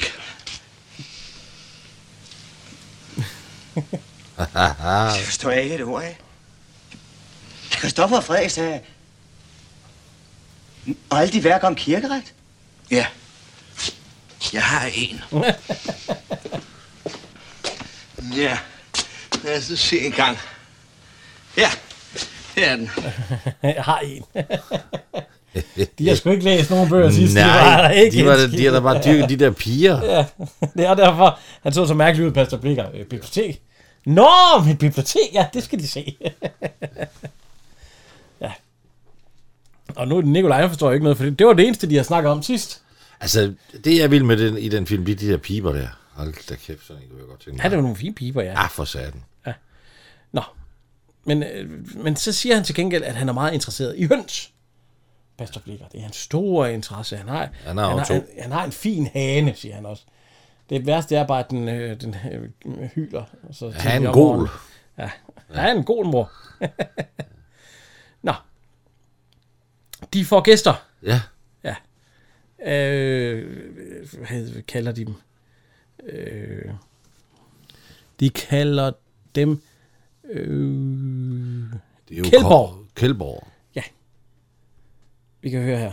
S13: Det forstår jeg ikke et ord af. Christoffer og Frederik sagde... Og alle de værker om kirkeret.
S9: Ja. Jeg har en. Ja. Lad os nu se en gang. Ja. Her er den.
S1: Jeg har en. De har sgu ikke læst nogen bøger sidst.
S2: Nej,
S1: der
S2: de var
S1: en
S2: da- de
S1: skid.
S2: har da bare dyrket de der piger.
S1: Ja, det er derfor, han så så mærkeligt ud, Pastor Blikker. Øh, bibliotek. Nå, mit bibliotek, ja, det skal de se. ja. Og nu er det Nikolaj, han forstår ikke noget, for det, det var det eneste, de har snakket om sidst.
S2: Altså, det jeg vil med den, i den film, det er de der piber der. Hold da kæft, sådan en kunne jeg godt tænke
S1: Ja, det var nogle fine piber, ja.
S2: Ah, for satan.
S1: Nå. Men, øh, men så siger han til gengæld, at han er meget interesseret i høns. Pastor Blikker, det er hans store interesse. Han har,
S2: Han har
S1: han,
S2: også
S1: har, han,
S2: to.
S1: han har en fin hane, siger han også. Det værste er bare, at den, øh, den øh, hyler. og Så
S2: Han er en
S1: tidligt om
S2: gol.
S1: morgenen. Ja, han er en god mor. Nå. De får gæster.
S2: Ja.
S1: Ja. Øh, hvad kalder de dem? Øh, de kalder dem... Øh,
S2: Det er jo
S1: Kjeldborg.
S2: Kor- Kjeldborg.
S1: Ja. Vi kan høre her.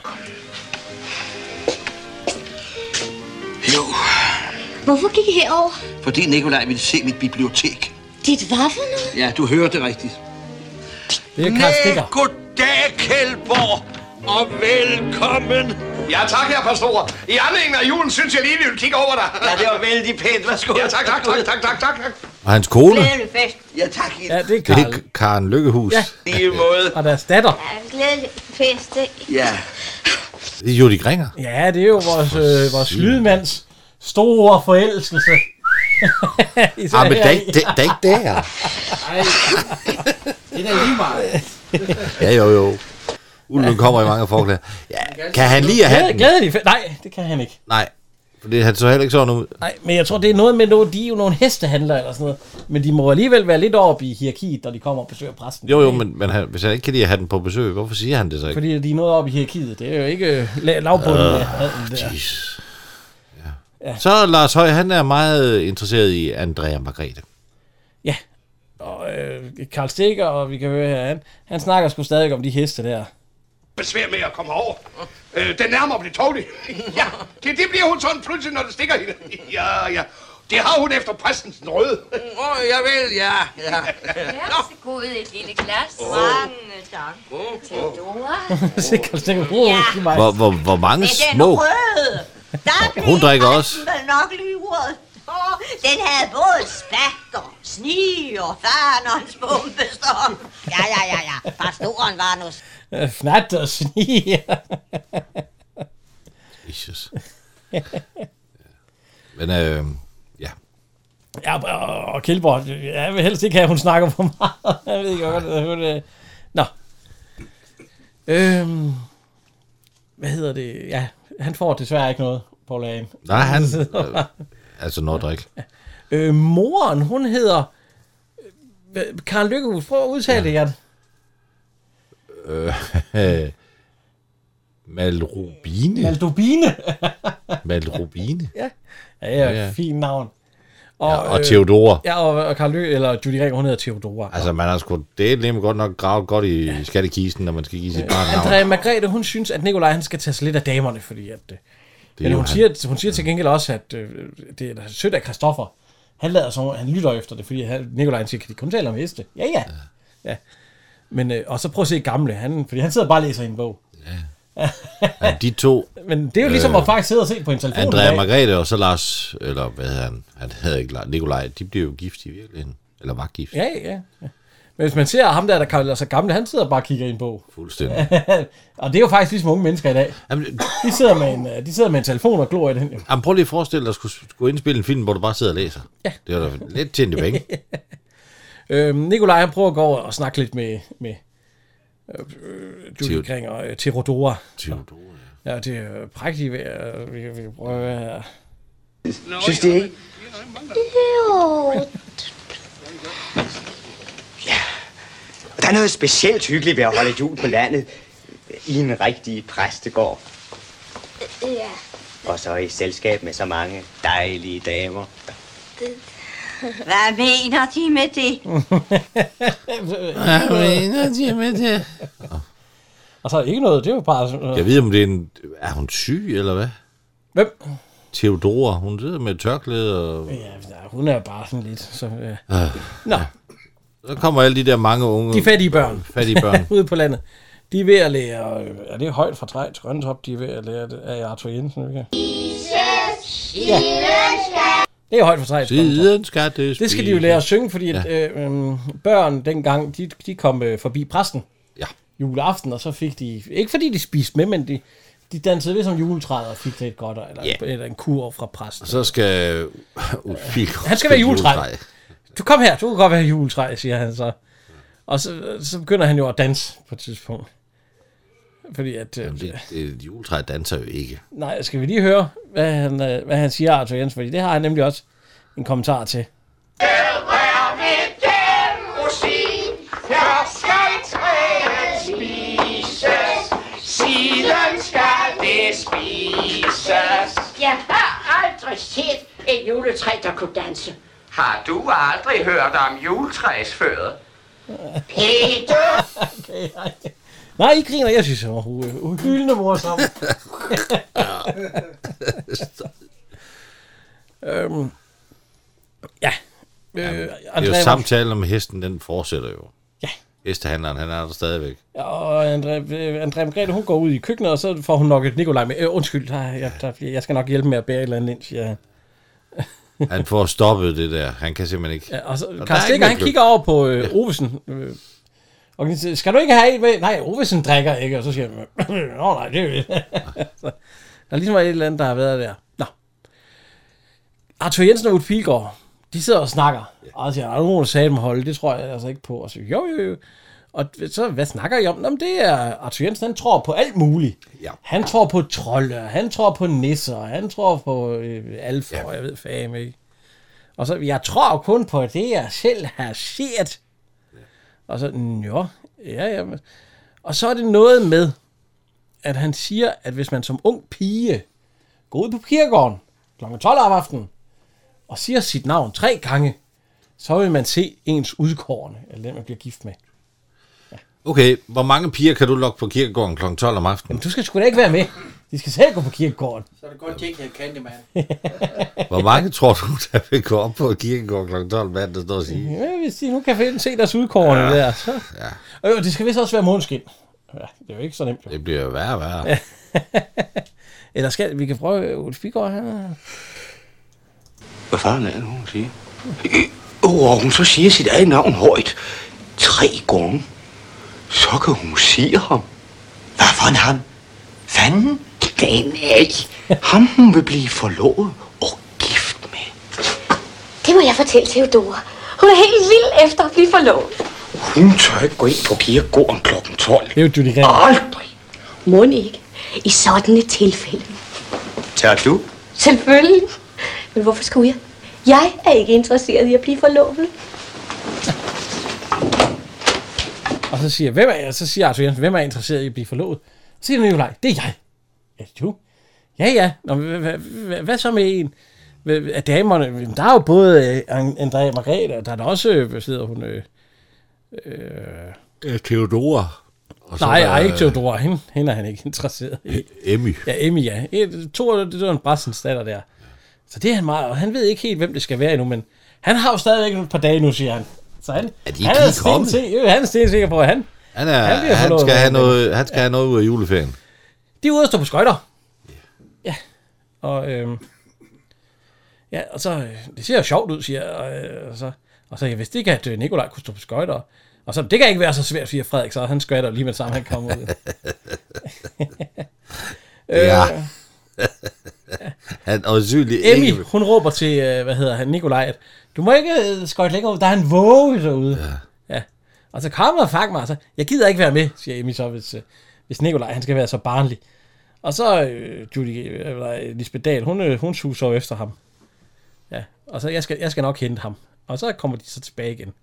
S9: Jo,
S4: Hvorfor gik I herover?
S9: fordi Nikolaj ville se mit bibliotek.
S4: Dit hvad for noget?
S9: Ja, du hørte rigtigt.
S1: Det
S4: er Karl Stikker.
S9: goddag, Kjeldborg, og velkommen.
S19: Ja, tak, herre pastor. I anledning af julen synes jeg lige, vi vil kigge over dig. Ja, det var vældig pænt. Værsgo. Ja, tak, tak, tak, tak, tak, tak.
S2: Og hans kone,
S4: fest.
S9: Ja, tak.
S1: Ja, det er
S2: det
S1: Karl.
S2: er K- Karen Lykkehus.
S1: Ja.
S9: Lige måde.
S1: Og deres datter.
S4: Glædelig fest, ikke?
S9: Ja.
S2: Det er Judy Gringer.
S1: Ja, det er jo vores, øh, vores lydmands store forelskelse. Især
S2: Ah, men
S1: her
S2: der er
S1: i-
S2: ikke, der, der er ikke der.
S20: Ej, det er da lige meget.
S2: Ja, jo, jo. Ulven kommer i mange forklæder. Ja, kan han lige have
S1: Glæde-
S2: den?
S1: Glædelig fest. Nej, det kan han ikke.
S2: Nej, for det, han så heller ikke sådan ud.
S1: Nej, men jeg tror, det er noget med, noget, de er jo nogle hestehandlere eller sådan noget. Men de må alligevel være lidt oppe i hierarkiet, når de kommer og besøger præsten.
S2: Jo, jo, men, men han, hvis han ikke kan lide at have den på besøg, hvorfor siger han det så ikke?
S1: Fordi de er noget oppe i hierarkiet. Det er jo ikke øh, la- lavbunden.
S2: Øh,
S1: Uh,
S2: Jesus. Ja. Så Lars Høj, han er meget interesseret i Andrea Margrethe.
S1: ja. Og øh, Karl Stikker, og vi kan høre her, han, han snakker sgu stadig om de heste der.
S19: Besvær med at komme over. Øh, den nærmere blev tålig. Ja, det, det bliver hun sådan pludselig, når det stikker hende. Ja, ja. Det har hun efter præstens røde.
S9: Åh, oh, jeg vil, ja. ja.
S17: Værsgod et lille glas.
S9: Åh.
S17: Mange tak. Theodora.
S1: Se, Karl Stikker, bror, ja. mig.
S2: Hvor, hvor, hvor mange små...
S4: røde. Der blev
S2: Hun drikker også.
S4: vel nok lyret. Åh, Den havde både spatter, sni og farnerens bombestorm. Ja, ja, ja, ja. Pastoren var nu...
S1: Øh, Fnat og sni.
S2: Jesus. Men øh, ja,
S1: Ja, og- og Kjeldborg, jeg vil helst ikke have, at hun snakker for meget. Jeg ved ikke, hvad hun... øh, Nå. Øhm, hvad hedder det? Ja, han får desværre ikke noget, Paul Hagen.
S2: nej, han... Øh, altså, når drik.
S1: Øh, moren, hun hedder... øh, Karen Lykkehus, prøv at udtale det, Jan.
S2: Øh, Malrubine.
S1: Maldubine.
S2: Malrubine.
S1: ja. Ja, ja,
S2: Ja,
S1: ja,
S2: ja.
S1: fint navn. Og,
S2: og Theodora.
S1: Ja, og, og Karl Lø, eller Judy Ring, hun hedder Theodora.
S2: Altså, man har sgu det er nemlig godt nok gravet godt i ja. skattekisten, når man skal give sit barn navn.
S1: Andrea Margrethe, hun synes, at Nikolaj han skal tage sig lidt af damerne, fordi at... Det men
S2: jo
S1: hun
S2: han.
S1: siger, hun siger til gengæld også, at øh, det er da sødt af Christoffer. Han, lader så, han lytter efter det, fordi han, Nikolaj han siger, kan de kun tale om heste? Ja, ja. ja. Men, øh, og så prøv at se gamle, han, fordi han sidder bare og læser i en bog.
S2: Ja, de to,
S1: Men det er jo ligesom
S2: Øh,
S1: øh, at faktisk sidde og se på en telefon. i
S2: Andrea
S1: dag.
S2: Margrethe og så Lars, eller hvad hedder han, han hedder ikke Lars, Nikolaj, de blev jo gift i virkeligheden. Eller var gift.
S1: Ja, ja, ja. Men hvis man ser ham der, der kalder sig gammel, han sidder bare og kigger ind på.
S2: Fuldstændig.
S1: og det er jo faktisk ligesom unge mennesker i dag. De sidder med en, øh, de sidder med en telefon og glor i den. jo.
S2: Jamen, prøv lige at forestille dig at skulle, skulle indspille en film, hvor du bare sidder og læser. Ja. Det var da lidt tjent i penge.
S1: Øhm, Nikolaj, han prøver at gå over og snakke lidt med, med øh, Julie
S2: Theo-
S1: Kring og øh, Theodora.
S2: Theodora,
S1: ja. Ja, det er prægtigt ved at vi, vi prøver at...
S6: Synes de ikke?
S21: Jo,
S9: Der er noget specielt hyggeligt ved at holde jul på landet i en rigtig præstegård.
S21: ja,
S9: Og så i selskab med så mange dejlige damer.
S21: det... Hvad mener de med det?
S2: Hvad mener de med det?
S1: Og så er ikke noget, det er jo bare sådan noget.
S2: Jeg ved, om det er en... Er hun syg, eller hvad?
S1: Hvem?
S2: Theodora. Hun sidder med et tørklæde og...
S1: Ja, nej, hun er bare sådan lidt, så... Øh.
S2: Øh,
S1: Nå,
S2: Så kommer alle de der mange unge...
S1: de fattige børn.
S2: Fattige børn.
S1: Ude på landet. De er ved at lære... øh, Er det højt fra træ til grøntop? De er ved at lære det af Arthur Jensen, ikke?
S6: Ja.
S1: Det er højt for træet.
S2: Siden skal det
S1: Det skal de jo lære at synge, fordi ja. at, øh, øh, børn dengang, de, de kom øh, forbi præsten
S2: ja.
S1: juleaften, og så fik de, ikke fordi de spiste med, men de, de dansede ved som juletræet og fik det et godt, eller, yeah. eller en kur fra præsten.
S2: Og så skal... Ufik,
S1: Han skal være juletræ. Du kom her, du kan godt være juletræ, siger han så. Og så, så begynder han jo at danse på et tidspunkt. Fordi at... Øh,
S2: Jamen, det, det, juletræ danser jo ikke.
S1: Nej, skal vi lige høre, hvad han, øh, hvad han siger, Arthur Jensen, fordi det har han nemlig også en kommentar til.
S6: Jeg skal træet spises, siden skal det spises.
S22: Jeg har aldrig set et juletræ, der kunne danse.
S6: Har du aldrig hørt om juletræsfødet?
S22: Peter!
S1: Nej, I griner, jeg synes, det var uh, uhyldende morsom. øhm, ja. Øh,
S2: Det er
S1: Andrea-
S2: jo samtalen om hesten, den fortsætter jo.
S1: Ja.
S2: Hestehandleren, han er der stadigvæk.
S1: Og Andrea, øh, Andrea Margrethe, hun går ud i køkkenet, og så får hun nok et Nikolaj med. Øh, undskyld, der, jeg, der, jeg skal nok hjælpe med at bære et eller andet ind, siger han.
S2: Han får stoppet det der. Han kan simpelthen ikke.
S1: Ja, og så,
S2: Og der er
S1: Karl
S2: ikke
S1: Stikker, han
S2: noget
S1: kigger over på øh, Ovesen. Øh, og han siger, skal du ikke have en med? Nej, Ovesen drikker ikke. Og så siger han, øh, nå nej, det er vi." så, Der er ligesom et eller andet, der har været der. Nå. Arthur Jensen og Ulf Pilgaard, de sidder og snakker. Og så siger, "Ej, nu må du sagde dem holde, det tror jeg altså ikke på. Og så, jo, jo, jo. Og så, hvad snakker I om? Nå, men det er Arthur Jensen, han tror på alt muligt.
S2: Ja.
S1: Han tror på trolde, og han tror på nisser, og han tror på øh, alfa, ja. jeg ved fame ikke. Og så, jeg tror kun på det, jeg selv har set. Og så, jo, ja, ja. men- Og så er det noget med, at han siger, at hvis man som ung pige går ud på kirkegården kl. 12 om aftenen og siger sit navn tre gange, så vil man se ens udkårende, eller den, man bliver gift med.
S2: Okay, hvor mange piger kan du lokke på kirkegården kl. 12 om aftenen?
S1: Men du skal sgu da ikke være med. De skal selv gå på kirkegården.
S3: Så er det godt, de ikke hedder Candyman.
S2: Hvor mange tror du, der vil gå op på kirkegården kl. 12 mandag, der står og sige?
S1: Ja, hvis de nu kan finde- se deres udkårende ja.
S2: Ja.
S1: der. Så.
S2: Ja.
S1: Og jo, det skal vist også være måneskin. Ja, det er jo ikke så nemt. Jo.
S2: Det bliver jo værre og værre.
S1: Eller skal vi kan prøve øh, Ulf Bigård her.
S16: Hvad fanden er det, hun siger? Og oh, hun så siger sit eget navn højt tre gange. Så kan hun sige ham. Hvad for en ham? Fanden? Den ikke. Ham hun vil blive forlovet.
S22: Det må jeg fortælle Theodora. Hun er helt vild efter at blive forlovet.
S16: Hun tør ikke gå ind på kirkegården klokken 12.
S1: Det er jo Judy
S16: Aldrig.
S22: Må ikke? I sådan et tilfælde.
S9: Tør du?
S22: Selvfølgelig. Men hvorfor skulle jeg? Jeg er ikke interesseret i at blive forlovet.
S1: Og så siger, hvem er, så siger Arthur Jensen, hvem er interesseret i at blive forlovet? Så siger Nikolaj, det er jeg. Ja, du? Ja, ja. Nå, hvad, hvad, hvad, hvad så med en Hvad- af damerne? Jamen, Der er jo både øh, An- Andrea Margrethe, og der er der også, øh, hvad hedder hun? Øh, øh,
S2: Øh, Theodora. Og så
S1: nej,
S2: er der,
S1: ej, ikke Theodora. Hende, hende er han ikke interesseret i.
S2: Emmy.
S1: Ja, Emmy, ja. Et, to, det var en Brassens datter der. Så det er han meget, og han ved ikke helt, hvem det skal være endnu, men han har jo stadigvæk et par dage nu, siger han. Så han,
S2: Er de
S1: han,
S2: ikke
S1: er
S2: lige kommet?
S1: stensikker, han er stensikker på, at han,
S2: Han, er,
S1: Han
S2: han,
S1: bliver
S2: han
S1: forlovet
S2: skal, have
S1: med hende.
S2: noget, han skal have noget ud af juleferien.
S1: De er ude og stå på skøjter. Ja. Og, øhm, ja, og så, øh, det ser jo sjovt ud, siger jeg, og, øh, og så, og så jeg vidste ikke, at øh, Nikolaj kunne stå på skøjter. Og så, det kan ikke være så svært, siger Frederik, så han skvatter lige med det samme, han kommer ud. Øh.
S2: Ja. Han er øjensynlig
S1: Emmy,
S2: ikke-
S1: hun råber til, øh, hvad hedder han, Nikolaj, at du må ikke øh, skøjte længere ud, der er en våge derude. Ja. ja. Og så kommer og fang mig, og så, jeg gider ikke være med, siger Emmy så, hvis, øh, hvis Nikolaj, han skal være så barnlig. Og så øh, Judy, øh, eller Lisbeth Dahl, hun, øh, hun suser jo efter ham. Ja, og så, jeg skal, jeg skal nok hente ham. Og så kommer de så tilbage igen.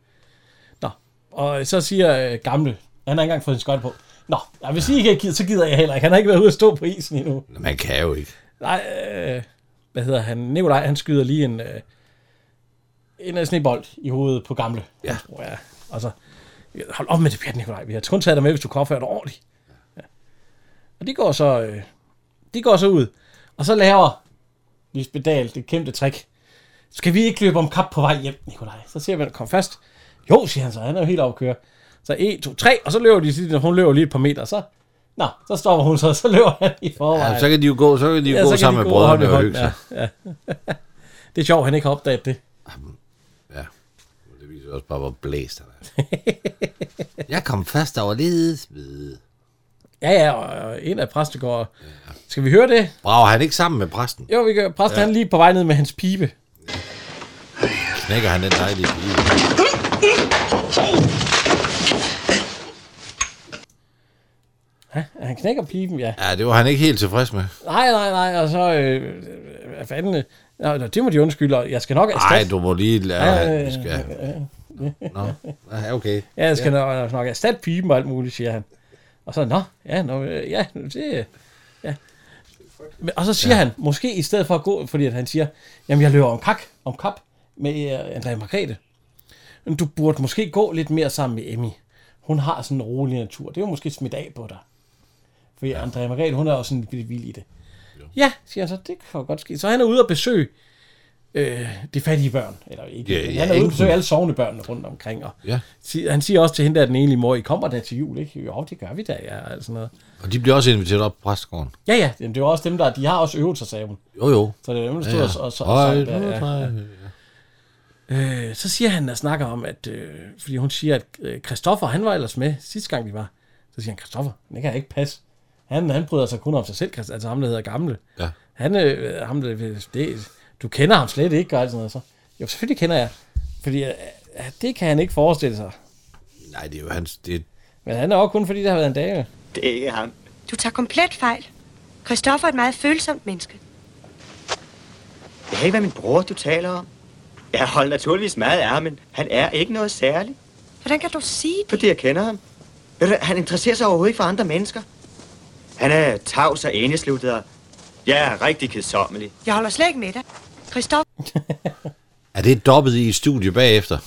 S1: Nå, og så siger øh, gamle, han har ikke engang fået en skøjt på. Nå, ja, hvis I ikke gider, så gider jeg heller ikke. Han har ikke været ude at stå på isen endnu.
S2: Man kan jo ikke.
S1: Nej, øh, hvad hedder han? Nikolaj, han skyder lige en, øh, en øh, snebold i hovedet på gamle. Ja. Tror jeg. Og så, hold op med det pjat, Nikolaj. Vi har kun taget dig med, hvis du kommer før dig ordentligt. Ja. Og de går så, øh, de går så ud. Og så laver Lisbeth Dahl det kæmpe trick. Skal vi ikke løbe om kap på vej hjem, Nikolaj? Så siger man, kom fast. Jo, siger han så, han er jo helt oppe at køre. Så 1, 2, 3, og så løber de, så hun løber lige et par meter, så, nå, så stopper hun så, så løber han i forvejen.
S2: Ja, så kan de jo gå, så kan de jo
S1: Ja,
S2: gå
S1: så kan
S2: sammen
S1: de
S2: med
S1: gå hånd i
S2: brødrene og
S1: hånd,
S2: hygge sig.
S1: Ja, ja. det er sjovt, han ikke har opdaget det.
S2: Det viser også bare, hvor blæst han er. Jeg kom fast over lidt.
S1: Ja, ja, og og en af præstegården. Skal vi høre det?
S2: Brager han ikke sammen med præsten?
S1: Jo, vi gør. Præsten
S2: Ja.
S1: ja. han er lige på vej ned med hans pibe.
S2: Knækker han den dejlige pige?
S1: Ja, han knækker piben, ja.
S2: Ja, det var han ikke helt tilfreds med.
S1: Nej, nej, nej, og så... Øh, hvad fanden... øh, Nå, nå, det må de undskylde, og jeg skal nok
S2: Nej,
S1: erstatte...
S2: du må lige lade...
S1: Ja,
S2: Ja, vi skal... Nå, ja, okay.
S1: Ja, jeg skal ja. nok, nok erstatte piben og alt muligt, siger han. Og så, nå, ja, nå, øh, ja, nu det, øh, ja. Men, og så siger ja. han, måske i stedet for at gå, fordi at han siger, jamen jeg løber om kak, om kap med øh, Andrea Margrethe. Men du burde måske gå lidt mere sammen med Emmy. Hun har sådan en rolig natur. Det er jo måske smidt af på dig. Fordi ja. Andrea Margrethe, hun er også sådan lidt vild i det. Ja, siger han så, det kan jo godt ske. Så han er ude og besøge øh, de fattige børn. Eller ikke,
S2: Ja,
S1: ja,
S2: ja,
S1: han er ude og
S2: enten.
S1: besøge alle sovende børn rundt omkring. Og
S2: Ja.
S1: sig- Han siger også til hende, at den enlige mor, I kommer da til jul, ikke? Jo, det gør vi da, ja, og sådan noget.
S2: Og de bliver også inviteret op på præstegården.
S1: Ja, ja, jamen, det er jo også dem, der, de har også øvelser, sagde hun.
S2: Jo, jo.
S1: Så det er jo dem, der
S2: Ja,
S1: stod
S2: ja.
S1: og, og, og,
S2: Høj,
S1: og ja,
S2: nu
S1: ja, ja. Øh, så siger han og snakker om, at, øh, fordi hun siger, at øh, Christoffer, han var ellers med sidste gang, vi var. Så siger han, Christoffer, det kan jeg ikke passe. Han, han bryder sig kun om sig selv, Christ- altså ham, der hedder Gamle.
S2: Ja.
S1: Han, øh, ham, der, det, du kender ham slet ikke, og alt sådan noget. Så, jo, selvfølgelig kender jeg, fordi øh, det kan han ikke forestille sig.
S2: Nej, det er jo hans... Det...
S1: Men han er også kun, fordi det har været en dag.
S23: Det er ikke ham.
S24: Du tager komplet fejl. Christoffer er et meget følsomt menneske.
S23: Det er ikke, hvad min bror, du taler om. Jeg holder naturligvis meget af ham, men han er ikke noget særligt.
S24: Hvordan kan du sige det?
S23: Fordi jeg kender ham. Ved du, han interesserer sig overhovedet ikke for andre mennesker. Han er tavs og enesluttet, og jeg er rigtig kedsommelig.
S24: Jeg holder slet ikke med dig. Christoffer
S2: Er det dobbelt i et studie bagefter?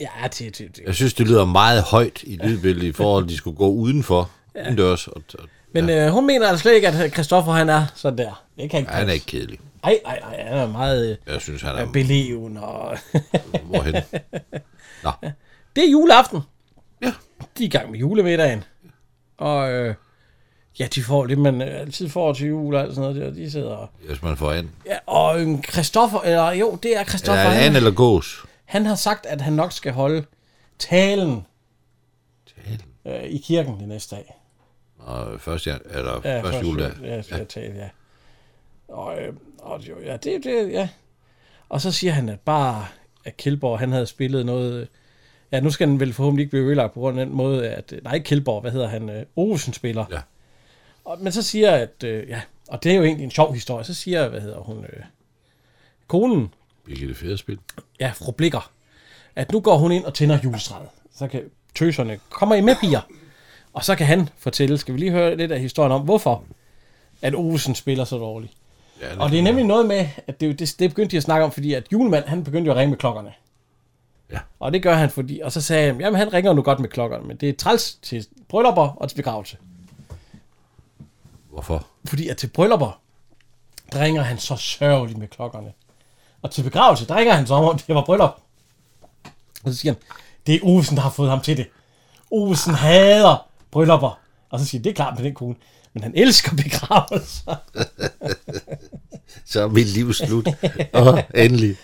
S1: Ja, til, til, til.
S2: Jeg synes, det lyder meget højt i lydbilledet i forhold til, at de skulle gå udenfor.
S1: Ja.
S2: Udendørs. Og, og,
S1: Men øh, hun mener altså slet ikke, at Christoffer han er sådan der. Det kan ikke
S2: han er
S1: passe.
S2: ikke kedelig.
S1: Ej, ej, ej, han er meget
S2: Jeg synes, han er...
S1: øh, beleven og...
S2: Hvorhen? Nå.
S1: Det er juleaften. Ja. De er i gang med julemiddagen. Og øh, ja, de får det, man øh, altid får til jul og alt sådan noget der. De sidder og...
S2: Hvis man får an.
S1: Ja, og øh, Christoffer, eller jo, det er Christoffer.
S2: Eller an
S1: han,
S2: eller gås.
S1: han har sagt, at han nok skal holde talen. Talen? Øh, I kirken den næste dag.
S2: Og første, jan- eller ja, første juledag.
S1: jul- Ja, ja. Tale, ja. Og, øh, og jo, ja, det, det, ja. Og så siger han, at bare at Kjeldborg, han havde spillet noget... øh, Ja, nu skal den vel forhåbentlig ikke blive ødelagt på grund af den måde, at... øh, Nej, ikke Kjeldborg, hvad hedder han? Øh, Olsen spiller.
S2: Ja.
S1: Og, men så siger at... Øh, ja, og det er jo egentlig en sjov historie. Så siger, hvad hedder hun? Øh, konen,
S2: Birgitte Federspil.
S1: ja, fru Blikker, at nu går hun ind og tænder julestrædet. Så kan tøserne, kommer I med piger? Og så kan han fortælle, skal vi lige høre lidt af historien om, hvorfor at Olsen spiller så dårligt.
S2: Ja,
S1: og det er nemlig noget med, at det, er jo- det, det begyndte de at snakke om, fordi at julemand, han begyndte jo at ringe med klokkerne.
S2: Ja.
S1: Og det gør han, fordi, og så sagde han, jamen han ringer nu godt med klokkerne, men det er træls til bryllupper og til begravelse.
S2: Hvorfor?
S1: Fordi at til bryllupper, der ringer han så sørgeligt med klokkerne. Og til begravelse, der ringer han så om, om det var bryllup. Og så siger han, det er Olsen, der har fået ham til det. Olsen hader bryllupper. Og så siger han, det er klart med den kone. Men han elsker begravelser.
S2: Så er mit liv slut. og endelig.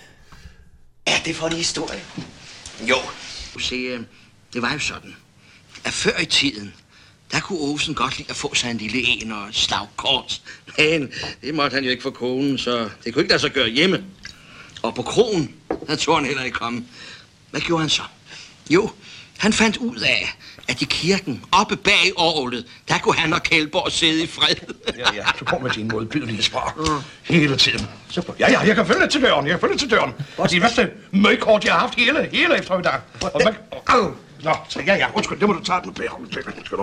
S3: Ja, det er for en historie. Jo. Du siger,
S16: øh, Det var jo sådan, at før i tiden, der kunne Olsen godt lide at få sig en lille en og et slagkors. Men det måtte han jo ikke for konen, så det kunne ikke lade sig gøre hjemme. Og på krogen, der tog han heller ikke komme. Hvad gjorde han så? Jo, han fandt ud af, at i kirken, oppe bag orglet, der kunne han og Kjeldborg sidde i fred. ja, ja,
S25: Så kom jeg til en modbydelige sprog. Hele tiden. Så på, ja, ja, jeg kan følge til døren, jeg kan følge til døren. Og det er værste møgkort, jeg har haft hele, hele eftermiddag. Og man, og, au. Nå, så ja, ja, undskyld, det må du tage den med. Undskyld, undskyld.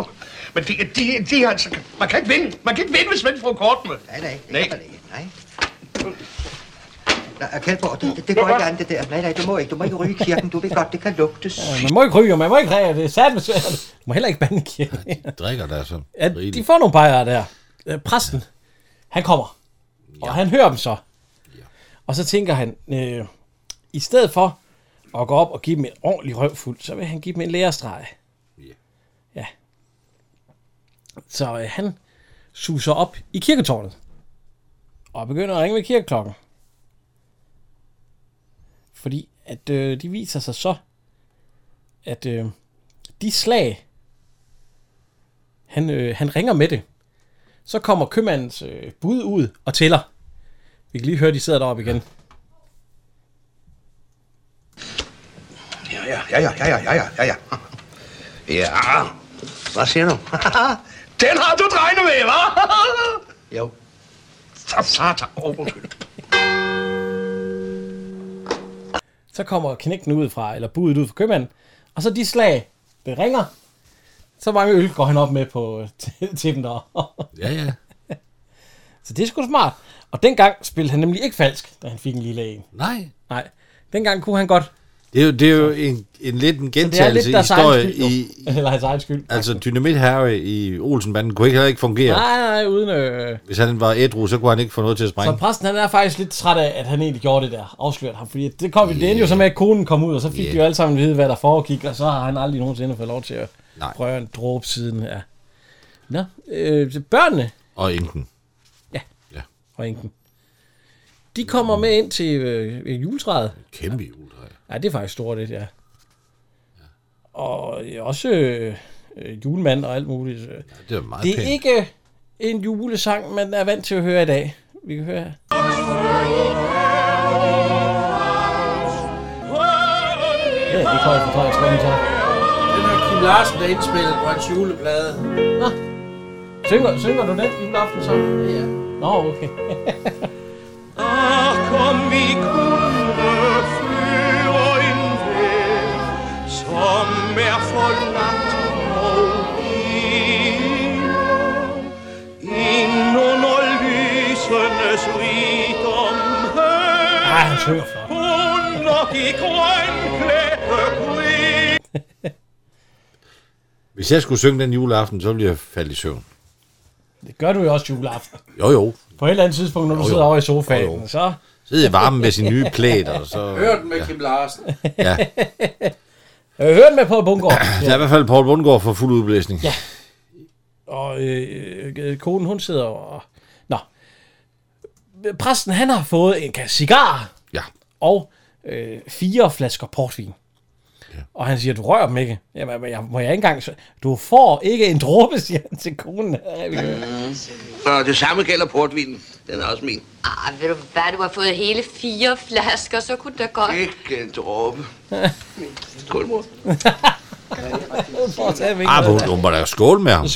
S25: Men det, det, det, det er altså, man kan ikke vinde. Man kan ikke vinde, hvis man får kort med.
S6: Nej, nej, det
S25: Nej.
S6: kan man ikke. Nej. Nej, Kjeldborg, det, det, det går ikke an, det der. Nej, nej, du må ikke. Du må ikke ryge i kirken. Du ved godt, det kan lugtes.
S1: Ja, man må ikke ryge, og man må ikke ræge, det er satme svært. Man må heller ikke bande kirken.
S2: Drikker der så.
S1: Ja, de får nogle bajere der. Øh, Præsten, han kommer, og han hører dem så. Og så tænker han, øh, i stedet for at gå op og give dem en ordentlig røvfuld, så vil han give dem en lærestreg. Ja. Så øh, han suser op i kirketårnet, og begynder at ringe ved kirkeklokken. Fordi at øh, de viser sig så, at øh, de slag, han, øh, han ringer med det. Så kommer købmandens øh, bud ud og tæller. Vi kan lige høre, de sidder deroppe igen.
S25: Ja, ja, ja, ja, ja, ja, ja, ja, ja. Ja, hvad siger du? Den har du regnet med, hva'? jo. Så satan, oh, undskyld.
S1: Så kommer knægten ud fra, eller budet ud fra købmanden. Og så de slag, det ringer. Så mange øl går han op med på til, til dem der.
S2: Ja, ja.
S1: Så det er sgu smart. Og dengang spillede han nemlig ikke falsk, da han fik en lille en.
S2: Nej.
S1: Nej. Dengang kunne han godt.
S2: Det er jo, det er jo en, en lidt en
S1: Så det er lidt
S2: gentagelse i
S1: deres egen
S2: historie
S1: skyld,
S2: i...
S1: i... Eller hans egen skyld.
S2: Altså, Dynamit Harry i Olsenbanden kunne ikke heller ikke fungere.
S1: Nej, nej, uden... Øh...
S2: Hvis han var ædru, så kunne han ikke få noget til at
S1: Så
S2: sprænge.
S1: præsten han er faktisk lidt træt af, at han egentlig gjorde det der, afslørte ham, fordi det, kom, yeah. det endte jo så med, at konen kom ud, og så fik yeah. de jo alle sammen at vide, hvad der foregik, og så har han aldrig nogensinde fået lov til at Nej. røre en dråbe siden. Ja. Nå, øh, så børnene
S2: Og enken.
S1: og enken, de kommer med ind til øh, juletræet.
S2: Kæmpe juletræ.
S1: Ja, det er faktisk stort, det ja. Og også øh, øh, julemand og alt muligt. øh. Ja,
S2: det er meget
S1: Det er
S2: pænt.
S1: ikke en julesang, man er vant til at høre i dag. Vi kan høre her. Ja, det er Frederik fra Frederiksberg, så.
S3: Den er Kim Larsen, der indspillet på hans juleplade.
S1: Nå. Synger, synger du den juleaften så? Ja. Nå, okay.
S15: Om vi kunne føre en vej, som er forladt og ene, ind under lysenes rigdom
S1: Ej, han synger flot.
S15: under de grønklædte krig.
S2: Hvis jeg skulle synge den juleaften, så ville jeg falde i søvn.
S1: Det gør du jo også juleaften.
S2: Jo, jo.
S1: På et eller andet tidspunkt, når du
S2: Jo, jo.
S1: sidder over i sofaen,
S2: Jo, jo.
S1: så...
S2: Sidde i varmen med sin nye plæt, og så...
S3: Hør den med ja. Kim Larsen.
S2: Ja.
S1: Jeg hørte Øh, med på Bungård.
S2: Der er Altså, i hvert fald Paul Bundgaard for fuld udblæsning. Ja.
S1: Og øh, øh, konen, hun sidder og... Nå. Præsten, han har fået en kasse cigar.
S2: Ja.
S1: Og øh, fire flasker portvin. Ja. Og han siger, du rører dem ikke. Jamen, men jeg, må jeg ikke engang... s- Du får ikke en dråbe, siger han til konen.
S16: Og det samme gælder portvinen. Den er også min.
S17: Ah, ved du hvad, du har fået hele fire flasker, så kunne det da godt.
S16: Ikke en dråbe. Kulmor.
S2: Ah, hun, hun var da skål med ham.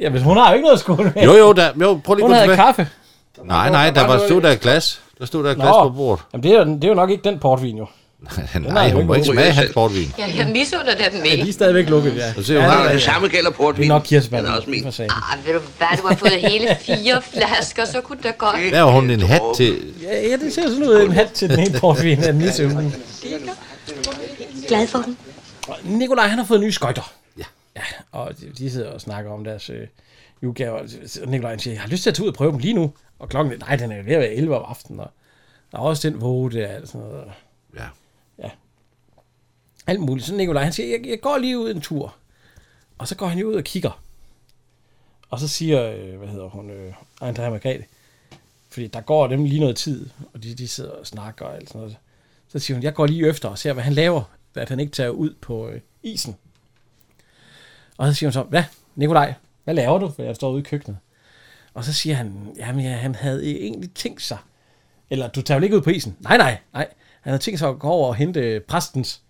S1: Ja, men hun har jo ikke noget at skåle med.
S2: Jo, jo, der, jo prøv lige
S1: Hun
S2: at gå
S1: havde
S2: tilbage.
S1: kaffe.
S2: Nej, nej, der var, stod der et glas. Der stod der et glas
S1: Nå.
S2: på bordet.
S1: Jamen, det er, jo, det er jo nok ikke den portvin, jo.
S2: Nej, hun må ikke smage hans portvin.
S17: Ja, jeg misunder da dem
S1: De
S17: ikke.
S1: er stadigvæk lukket, ja.
S2: Så ser hun,
S1: ja,
S2: "Ah, det
S16: samme gælder portvin.
S1: Det er nok kirsebær. Den er også min.
S17: Ah, ved du hvad, du har fået hele fire flasker, så kunne det da godt.
S2: Der har hun en hat til.
S1: Ja, ja, det ser sådan ud. En hat til den ene portvin af den nissehøvlen.
S24: Glad for den.
S1: Nikolaj, han har fået nye skøjter. Ja. ja og de, de sidder og snakker om deres øh, julegaver. Og Nikolaj han siger, jeg har lyst til at tage ud og prøve dem lige nu. Og klokken, nej, den er ved at være 11 om aftenen. Og der er også den våge der, eller sådan noget.
S2: Ja.
S1: Ja. Alt muligt. Så Nikolaj, han siger, jeg, jeg går lige ud en tur. Og så går han jo ud og kigger. Og så siger, øh, hvad hedder hun, øh, Andrea Margrethe, fordi der går dem lige noget tid, og de, de sidder og snakker og alt sådan noget. Så siger hun, jeg går lige efter og ser, hvad han laver, at han ikke tager ud på øh, isen. Og så siger hun så, hvad, Nikolaj, hvad laver du? For jeg står ude i køkkenet. Og så siger han, jamen ja, han havde e- egentlig tænkt sig, eller du tager vel ikke ud på isen? Nej, nej, nej. Han havde tænkt sig at gå over og hente øh, præstens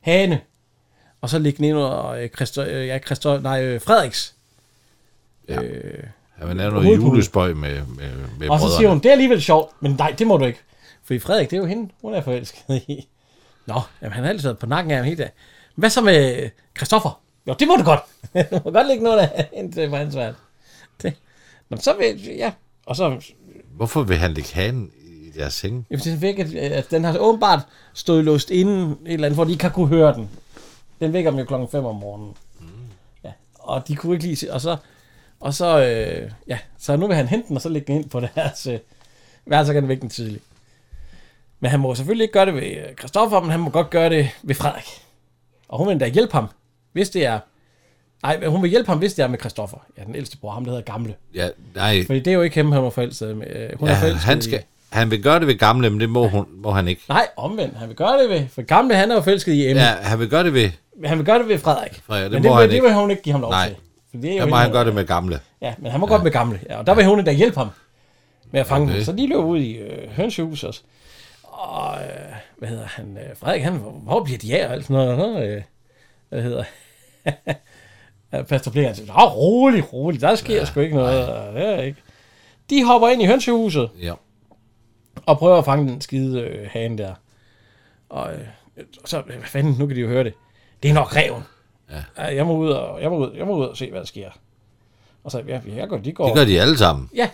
S1: hane, og så ligge den ind under øh, Christo, øh, ja, Christo, nej, øh, Frederiks.
S2: Ja.
S1: Øh,
S2: Ja, men er der noget
S1: hovedpude.
S2: julespøj med, med, med
S1: og så
S2: brødrene?
S1: siger hun, det er alligevel sjovt, men nej, det må du ikke. For Frederik, det er jo hende, hun er forelsket i. Nå, jamen, han har altid været på nakken af ham hele dagen. Hvad så med øh, Christoffer? Jo, det må du godt. du må godt lægge noget af hende på hans værelse. Det. Nå, men så vil, ja. Og så,
S2: Hvorfor vil han lægge hanen i deres seng?
S1: jamen, den, væk, at, at den har åbenbart stået låst inden et eller andet, hvor de ikke har kunne høre den. Den vækker dem jo klokken 5 om morgenen.
S2: Mm.
S1: Ja, og de kunne ikke lige se, og så, og så, øh, ja, så nu vil han hente den, og så lægge den ind på deres øh, værelse, så kan han vække den tidligt. Men han må selvfølgelig ikke gøre det ved øh, Christoffer, men han må godt gøre det ved Frederik. Og hun vil endda hjælpe ham, hvis det er... Nej, men hun vil hjælpe ham, hvis det er med Christoffer. Ja, den ældste bror, ham der hedder Gamle.
S2: Ja, nej.
S1: Fordi det er jo ikke ham, han var forelsket med. Øh, Hun
S2: Ja,
S1: er forelsket
S2: han,
S1: i-
S2: skal, han vil gøre det ved gamle, men det må, hun, må han ikke.
S1: Nej, omvendt. Han vil gøre det ved... For Gamle, han er jo forelsket i Emma.
S2: Ja, han vil gøre det ved...
S1: Men han vil gøre det ved Frederik.
S2: Frederik, det
S1: men
S2: må
S1: det,
S2: han
S1: det
S2: ikke.
S1: vil hun ikke give ham lov
S2: Nej.
S1: til. For det er jo
S2: Der må
S1: hende,
S2: han
S1: hun-
S2: gøre det med gamle.
S1: Ja, men han må ja. godt med gamle. Ja, og der vil hun endda hjælpe ham med at fange
S2: Okay.
S1: okay. dem. Så de løb ud i øh, hønsehuset også. Og øh, hvad hedder han? Øh, Frederik, han, hvor, hvor bliver de af? Og alt sådan noget. Øh, hvad hedder Ja, Pastor Blæk, han siger, "Nå, rolig, rolig, der sker ja, sgu ikke noget. Og Det er ikke. De hopper ind i hønsehuset
S2: Ja.
S1: og prøver at fange den skide øh, hane der. Og øh, så, øh, hvad fanden, nu kan de jo høre det. Det er nok reven. Ja. Jeg må ud og, jeg må ud, jeg må ud og se, hvad der sker. Og så, ja, jeg går, de går.
S2: Det gør de alle sammen.
S1: Ja.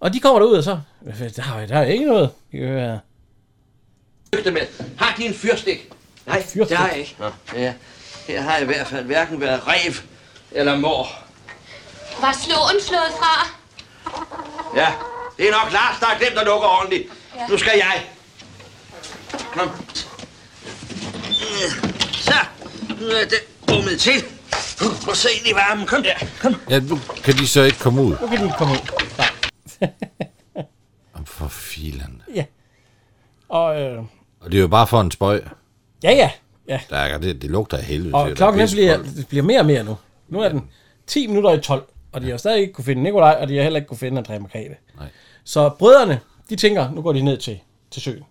S1: Og de kommer derud, og så, "Hvad fanden, der er, der er ikke noget. I kan høre her.
S13: Lygtemænd, har de en fyrstik? Nej,
S1: Fyrstik?
S13: det har jeg ikke. Ja, her har jeg i hvert fald hverken været rev eller mor.
S17: Var slåen slået fra?
S13: Ja, det er nok Lars, der har glemt at lukke ordentligt.
S17: Ja.
S13: Nu skal jeg. Kom. Så, nu er det bummet til. Prøv at se ind i varmen. Kom der.
S2: Ja, nu kan de så ikke komme ud.
S1: Nu kan de ikke komme ud. Nej.
S2: Jamen, For filen.
S1: Og, øh,
S2: Og det er jo bare for en spøj.
S1: ja, ja. Ja.
S2: Der er, det, det lugter af helvede. til,
S1: Og
S2: der
S1: klokken
S2: er
S1: den bliver,
S2: pissekoldt.
S1: det bliver mere og mere nu. Nu er den 10 minutter i 12, og de har stadig ikke kunne finde Nikolaj, og de har heller ikke kunne finde Andrea Margrethe.
S2: Nej.
S1: Så brødrene, de tænker, nu går de ned til, til søen.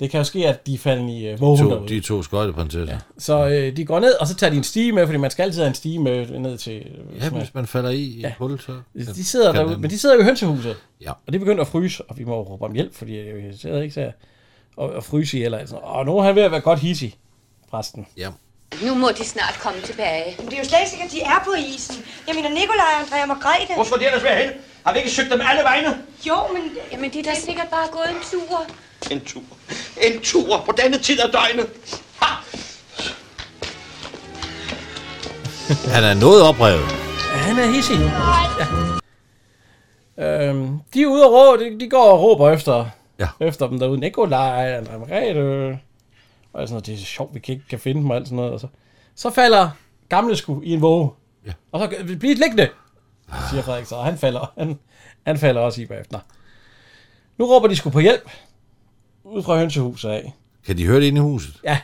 S1: Det kan jo ske, at de falder i øh, vågen
S2: To,
S1: derude.
S2: de to skøjteprinsesser.
S1: Så øh, de går ned, og så tager de en stige med, fordi man skal altid have en stige med ned til... øh,
S2: Ja, hvis man falder i ja. et hul, så...
S1: De sidder
S2: kan
S1: derude,
S2: den-
S1: men de sidder jo i hønsehuset.
S2: Ja.
S1: Og det er begyndt at fryse, og vi må jo råbe om hjælp, fordi jeg er jo irriteret, ikke? Så, og, og fryse i eller sådan noget. Og nu er han ved at være godt hissig, præsten.
S2: Ja.
S17: Nu må de snart komme tilbage.
S24: Men det er jo slet ikke sikkert, at de er på isen. Jeg mener, Nikolaj og Andrea Margrethe.
S13: Hvor skulle de ellers være henne? Har vi ikke søgt dem alle vegne?
S24: Jo, men...
S17: Jamen, de er da sikkert bare gået en tur.
S13: En tur. En tur på denne tid af døgnet. Ha!
S2: Han er noget oprevet.
S1: Ja, han er hissig. Ja. Øhm, de er ude og råbe, de, de går og råber efter,
S2: ja.
S1: efter dem derude. Nikolaj, André Margrethe. Og jeg er sådan, noget, det er så sjovt, vi kan ikke kan finde dem og alt sådan noget. Og så, så falder gamle sku i en våge. Ja. Og så "Bliv- bliv liggende, siger Frederik så. Og han falder, han, han falder også i bagefter. Nå. Nu råber de sgu på hjælp. Ud fra hønsehuset af.
S2: Kan de høre det inde i huset?
S1: Ja,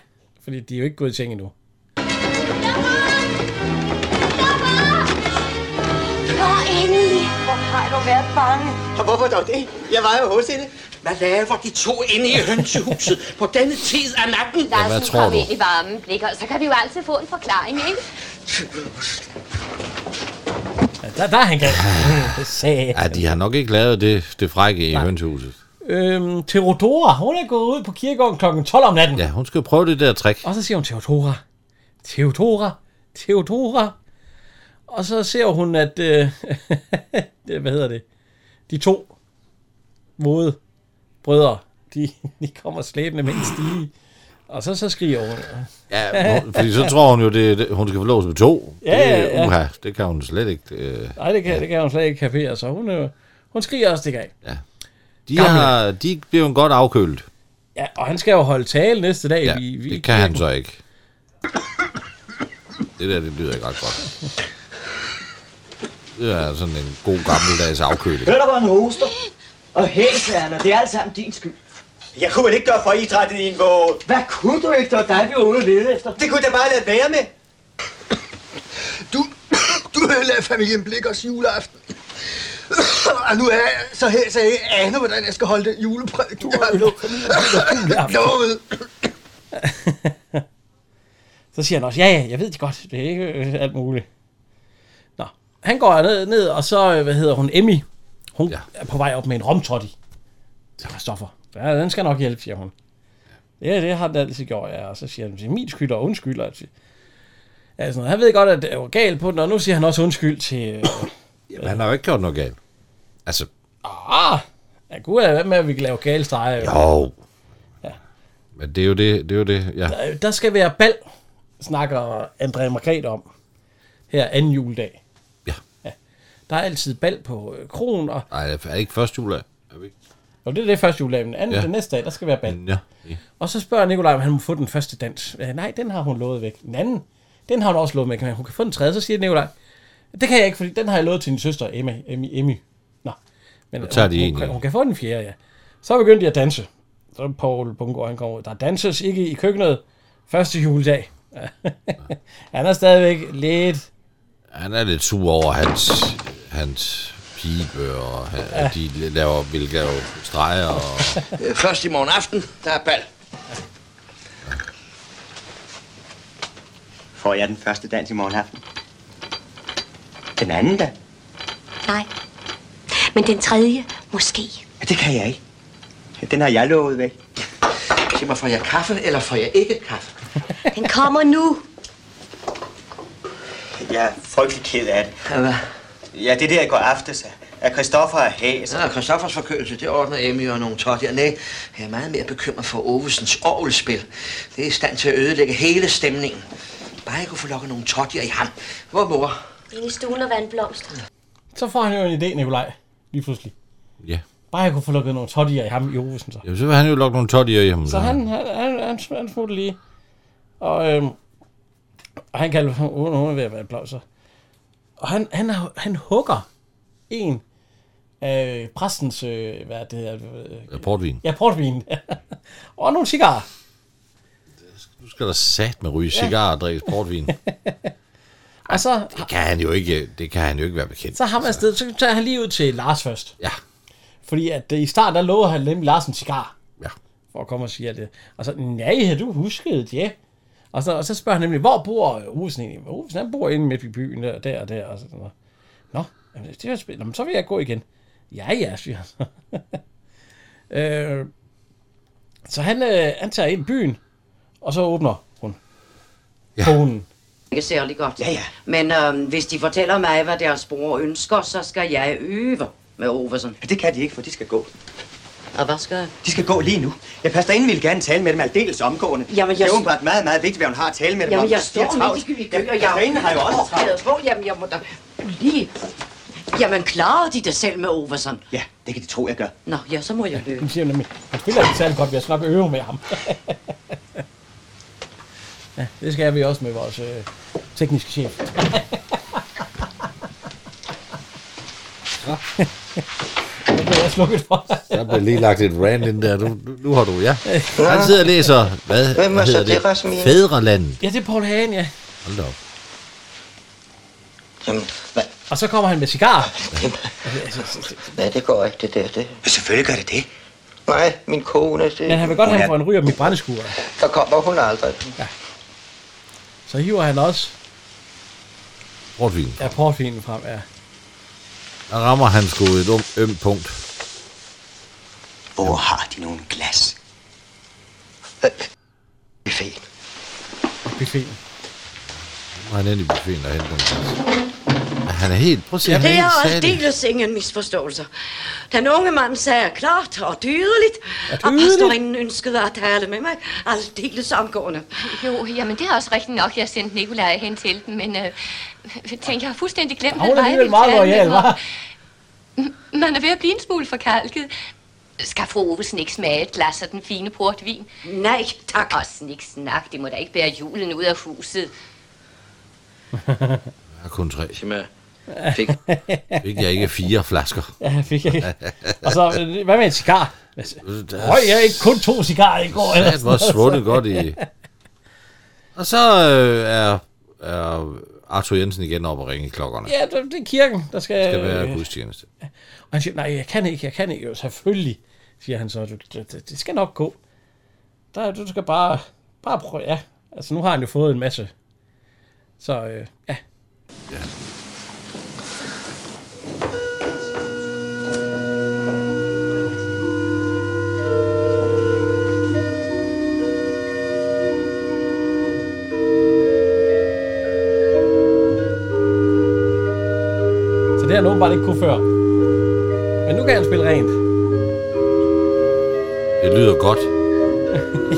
S1: fordi de er jo ikke gået i seng endnu.
S21: Nå, endelig. Hvor har du været bange?
S13: Og hvorfor dog det? Jeg var jo hos hende. Hvad laver de to inde i hønsehuset på denne tid af natten?
S17: Larsen, kom ind i varmen, blikker, så kan vi jo altid få en forklaring, ikke?
S1: Ja, der, der er han galt. Det sagde
S2: Ja, de har nok ikke lavet det, det frække i hønsehuset.
S1: Øhm, Theodora, hun er gået ud på kirkegården kl. 12 om natten.
S2: Ja, hun skal prøve det der trick.
S1: Og så siger hun, Theodora, Theodora, Theodora. Og så ser hun, at, øh, det- hvad hedder det, de to våde brødre, de, de kommer slæbende med en stige. Og så, så skriger hun.
S2: Ja, hun- Fordi så tror hun jo, det, det hun skal forlås med to.
S1: Ja, ja,
S2: det,
S1: ja.
S2: Uha, det kan hun slet ikke. Øh.
S1: Nej, det kan, det kan hun slet ikke kapere, så hun, øh, hun skriger også det af.
S2: De,
S1: Gamle.
S2: har, de bliver jo godt afkølet.
S1: Ja, og han skal jo holde tale næste dag.
S2: Ja,
S1: vi, vi,
S2: det kan han så ikke. Det der, det lyder ikke ret godt. Det er sådan en god gammeldags afkøling.
S6: Hør der var en hoster. Og hæsværner, det er alt sammen din skyld.
S9: Jeg kunne vel ikke gøre for idræt i en våge.
S6: Hvad kunne du ikke, da dig vi var ude og lede efter?
S9: Det kunne jeg da bare lade være med.
S6: Du
S4: ødelagde familien Blikkers juleaften. Og nu er jeg så helt, så jeg ikke aner, hvordan jeg skal holde den juleprædik. Du har lovet.
S1: Så siger han også, ja, ja, jeg ved det godt. Det er ikke øh, alt muligt. Nå, han går ned, ned og så, øh, hvad hedder hun, Emmy. Hun ja. er på vej op med en romtotti. Så Christoffer, ja, den skal nok hjælpe, siger hun. Ja, det har den altid gjort, ja. Og så siger han, min skyld og undskyld. Og altså, han ved godt, at jeg var gal på den, og nu siger han også undskyld til... Øh,
S2: Jamen, han har jo ikke gjort noget galt. Altså,
S1: ah, ja, gud, hvad med, at vi kan lave gale streger?
S2: jo. Men det er jo det, det er jo det, ja.
S1: Øh, Der skal være bal, snakker André Margrethe om, her anden juledag.
S2: Ja.
S1: ja. Der er altid bal på øh, kronen, og,
S2: Nej, det er ikke første juledag. Er vi ikke?
S1: og det er det første juledag, men anden,
S2: Ja.
S1: ja. den næste dag, der skal være bal.
S2: Ja.
S1: Og så spørger Nikolaj, om han må få den første dans. Øh, nej, den har hun lovet væk. Den anden, den har hun også lovet væk, men hun kan få den tredje. Så siger Nikolaj, det kan jeg ikke, fordi den har jeg lovet til din søster, Emma. Emmy. Emmy. Nå. Men
S2: Nu tager de
S1: hun,
S2: en,
S1: hun, kan,
S2: ja.
S1: hun kan få den fjerde, ja. Så begyndte de at danse. Så er Paul Bungo, han kommer ud. Der danses ikke i køkkenet første juledag. Ja. han er stadigvæk lidt...
S2: Han er lidt sur over hans, hans pibe, og han,
S13: Ja.
S2: ja. de laver, vil lave streger. Og,
S13: Øh, Først i morgen aften, der er bal.
S9: Får jeg den første dans i morgen aften? Den anden da?
S22: Nej. Men den tredje, måske.
S9: Ja, det kan jeg ikke. Den har jeg lovet væk.
S13: Sig mig, får jeg kaffe, eller får jeg ikke kaffe?
S22: Den kommer nu.
S9: Jeg er frygtelig ked af det. Hvad? Ja, det der i går aftes, at Christoffer er hæs.
S13: Ja, Christoffers forkølelse, det ordner Emmy og nogle tottier. Nej, jeg er meget mere bekymret for Ovesens orgelspil. Det er i stand til at ødelægge hele stemningen. Bare jeg kunne få lukket nogle tottier i ham. Hvor mor?
S22: Inde i stuen og vandblomster.
S1: Så får han jo en idé, Nikolaj, lige pludselig.
S2: Ja.
S1: Bare jeg kunne få lukket nogle toddier i ham i Ovesen, så.
S2: jamen, så vil han jo lukke nogle toddier i ham.
S1: Så han, han, han, han, sm- han smutter lige. Og, øhm, og han kan hun, hun er ved at være bleg, så. Og han, han, har- han hugger en af præstens, øh, hvad er det hedder? Øh,
S2: Portvin.
S1: ja, portvin. og nogle cigarer.
S2: Nu skal der sat med ryge cigar og drikke portvin.
S1: Og så,
S2: Det kan han jo ikke, det kan han jo ikke være bekendt.
S1: så har man afsted, så tager han lige ud til Lars først.
S2: Ja.
S1: Fordi at øh, i starten, der lovede han nemlig Lars en cigar.
S2: Ja.
S1: For at komme og sige alt det. Og så, nej, har du husket det? Og så, og så spørger han nemlig, hvor bor Olsen egentlig? Hvor Olsen, han bor inde midt i byen, der, der og der. Og sådan noget. Nå, jamen, det er jo spændende. Jamen, så vil jeg gå igen. Ja, ja, siger han. så. øh, så han, øh, han tager ind i byen, og så åbner hun. Ja. Konen.
S18: Ikke særlig godt. Ja, ja. Men øhm, hvis de fortæller mig, hvad deres bror ønsker, så skal jeg øve med Ovesen.
S9: Det kan de ikke, for de skal gå.
S18: Og hvad skal jeg?
S9: De skal gå lige nu. Jeg passer ind, vil gerne tale med dem aldeles omgående.
S18: Jamen, jeg-
S9: Det er åbenbart meget, meget vigtigt, hvad hun har at tale med dem
S18: Jamen,
S9: om.
S18: jeg
S9: De har
S18: står
S9: travlt.
S18: midt i- i kø,
S9: Ja,
S18: og jeg
S9: Christiane har jo også travlt.
S18: opdaget på. Jamen, jeg må da lige... Jamen, klarer de det selv med Ovesen?
S9: Ja, det kan de tro, jeg gør.
S18: Nå, ja, så må jeg løbe.
S1: Hun siger nemlig, han spiller ikke særlig godt, vi har snakket øve med ham. ja, det skal vi også med vores øh, tekniske chef. Det blev jeg slukket for.
S2: Der blev lige lagt et rand ind der. Nu, nu, nu har du, ja. Han sidder og læser, hvad,
S1: Hvem er
S2: hvad
S1: så
S2: hedder
S1: det, Rasmus?
S2: det? Fædrelandet.
S1: ja, det er Paul Hagen, ja.
S2: Hold da op.
S1: Og så kommer han med cigar.
S13: Nej, det går ikke, det der. Det. Selvfølgelig gør det det. Nej, min kone... Det...
S1: Men han vil godt have, at han får en ryger med brændeskuer.
S13: Der kommer hun aldrig.
S1: Ja. Så hiver han også
S2: Portvin.
S1: ja, portvinen frem. Ja.
S2: Der rammer han sgu et øm, øm punkt.
S9: Hvor har de nogle glas?
S13: Øh.
S9: Buffet.
S1: Buffeten.
S2: Nu er han inde i buffeten og henter en glas. Ja, Han er helt... Prøv at se, han
S18: det er
S2: er helt sat.
S18: aldeles ingen misforståelser. Den unge mand sagde klart og tydeligt,
S2: Ja,
S18: og pastorinden ønskede at tale med mig aldeles omgående.
S17: Jo, jamen det er også rigtigt nok, jeg sendte Nikolaj hen til dem, men øh, jeg tænker, jeg har fuldstændig glemt,
S1: Hun er
S17: var, jeg
S1: alligevel
S17: ville
S1: meget
S17: tale med
S1: royal,
S17: ham.
S1: hva'?
S17: Man er ved at blive en smule forkalket. Skal fru Ovesen ikke smage et glas af den fine portvin?
S18: Nej, tak.
S17: Og snik snak, det må da ikke bære julen ud af huset.
S2: Jeg har kun tre.
S13: Fik.
S2: Fik jeg ikke fire flasker.
S1: Ja, fik jeg ikke. Og så, øh, hvad med en cigar? Røg jeg ikke kun to cigarer i går?
S2: Sat var svundet godt i... Og så øh, er, er Arthur Jensen igen op og ringe i klokkerne.
S1: Ja, det, det er kirken, der skal...
S2: Det skal være gudstjeneste.
S1: Og han siger, nej, jeg kan ikke, jeg kan ikke. Jo, selvfølgelig, siger han så. "Du- du- Det, det skal nok gå. Der, du skal bare, bare prøve. Ja, altså nu har han jo fået en masse. Så øh, ja. Så det har han åbenbart ikke kunne før. Men nu kan han spille rent.
S2: Det lyder godt.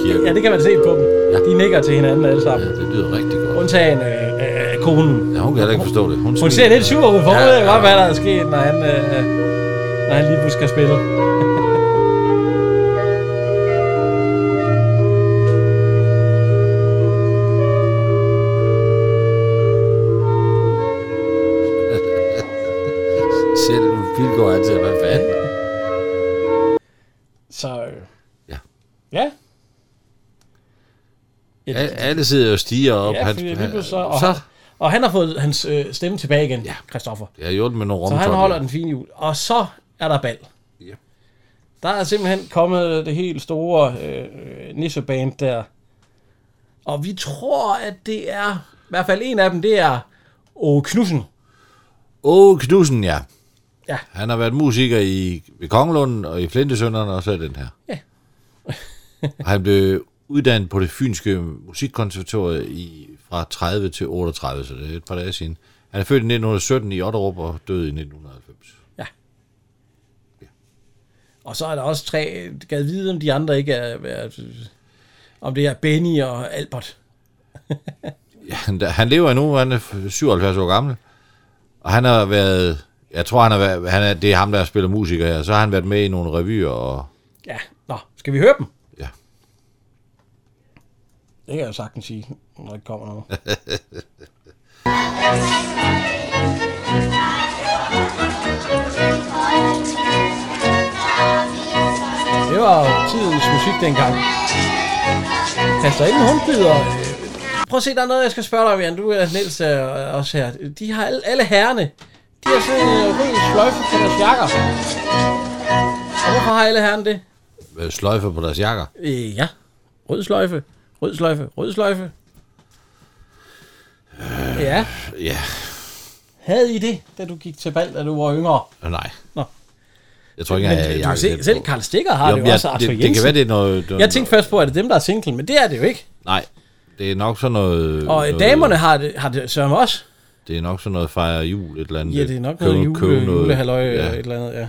S2: Kirken.
S1: Ja, det kan man se på dem. Ja. De nikker til hinanden alle sammen.
S2: Det lyder rigtig godt.
S1: Undtagen øh, øh, øh, konen.
S2: Ja, hun kan heller ikke forstå det. Hun,
S1: Hun
S2: smiler.
S1: ser lidt sur ud, for hun
S2: Ja,
S1: ved
S2: ja.
S1: godt, hvad der er sket, når han, øh, når han lige pludselig skal spille.
S2: Selv Ulf Pilgaard er til at være fanden.
S1: Så... Øh, ja. Ja.
S2: Al- Alle sidder jo og stiger op.
S1: Ja,
S2: Han-
S1: fordi lige
S2: han-
S1: pludselig så, og,
S2: så.
S1: så. og han har fået hans øh, stemme tilbage igen, ja. Christoffer.
S2: Jeg har hjulpet med nogle
S1: Så han
S2: romtopper.
S1: holder den fine jul. Og så er der bal.
S2: Ja.
S1: Der er simpelthen kommet det helt store øh, øh, nisseband der. Og vi tror, at det er... I hvert fald en af dem, det er Åge Knudsen.
S2: Åge Knudsen, ja.
S1: Ja.
S2: Han har været musiker i ved Kongelunden og i Flintesønderne, og så er den her.
S1: Ja.
S2: og han blev uddannet på det fynske musikkonservatorium i, fra 30 til 38, så det er et par dage siden. Han er født i 1917 i Otterup og døde i 1990.
S1: Og så er der også tre... Gad vide, om de andre ikke er... er om det er Benny og Albert.
S2: Ja, han, han lever endnu, han er 77 år gammel. Og han har været, jeg tror, han har været, han er, det er ham, der spiller musiker her. Så har han været med i nogle revyer og
S1: Ja, nå, skal vi høre dem?
S2: Ja.
S1: Det kan jeg jo sagtens sige, når der ikke kommer noget. Det var jo tidens musik dengang. Passer ind, hun byder. Prøv at se, der er noget, jeg skal spørge dig om, Jan. Du er Niels øh, også her. De har alle, alle herrene. De har sådan en øh, rød sløjfe på deres jakker. Og hvorfor har alle herrene det?
S2: øh, sløjfer på deres jakker.
S1: Øh, ja. Rød sløjfe. Rød sløjfe. Rød sløjfe.
S2: Øh.
S1: Ja.
S2: Ja,
S1: Havde I det, da du gik til bal, da du var yngre?
S2: nej.
S1: Nå.
S2: Jeg tror ikke, jeg
S1: Men
S2: har
S1: du kan
S2: jakke
S1: se,
S2: på.
S1: selv Karl Stikker har
S2: Jo,
S1: det
S2: men
S1: jo også,
S2: jeg-
S1: Arthur
S2: det, det kan
S1: Jensen.
S2: være, det er noget... noget
S1: Jeg tænkte først på, at det er dem, der er single, men det er det jo ikke.
S2: Nej, det er nok sådan noget...
S1: Og øh,
S2: noget,
S1: damerne har det, har det sørme også.
S2: Det er nok sådan noget fejre jul, et eller andet.
S1: Ja, det er nok
S2: Købe-
S1: noget jule,
S2: købe
S1: julehalløj eller
S2: Ja,
S1: øh, et eller andet, ja.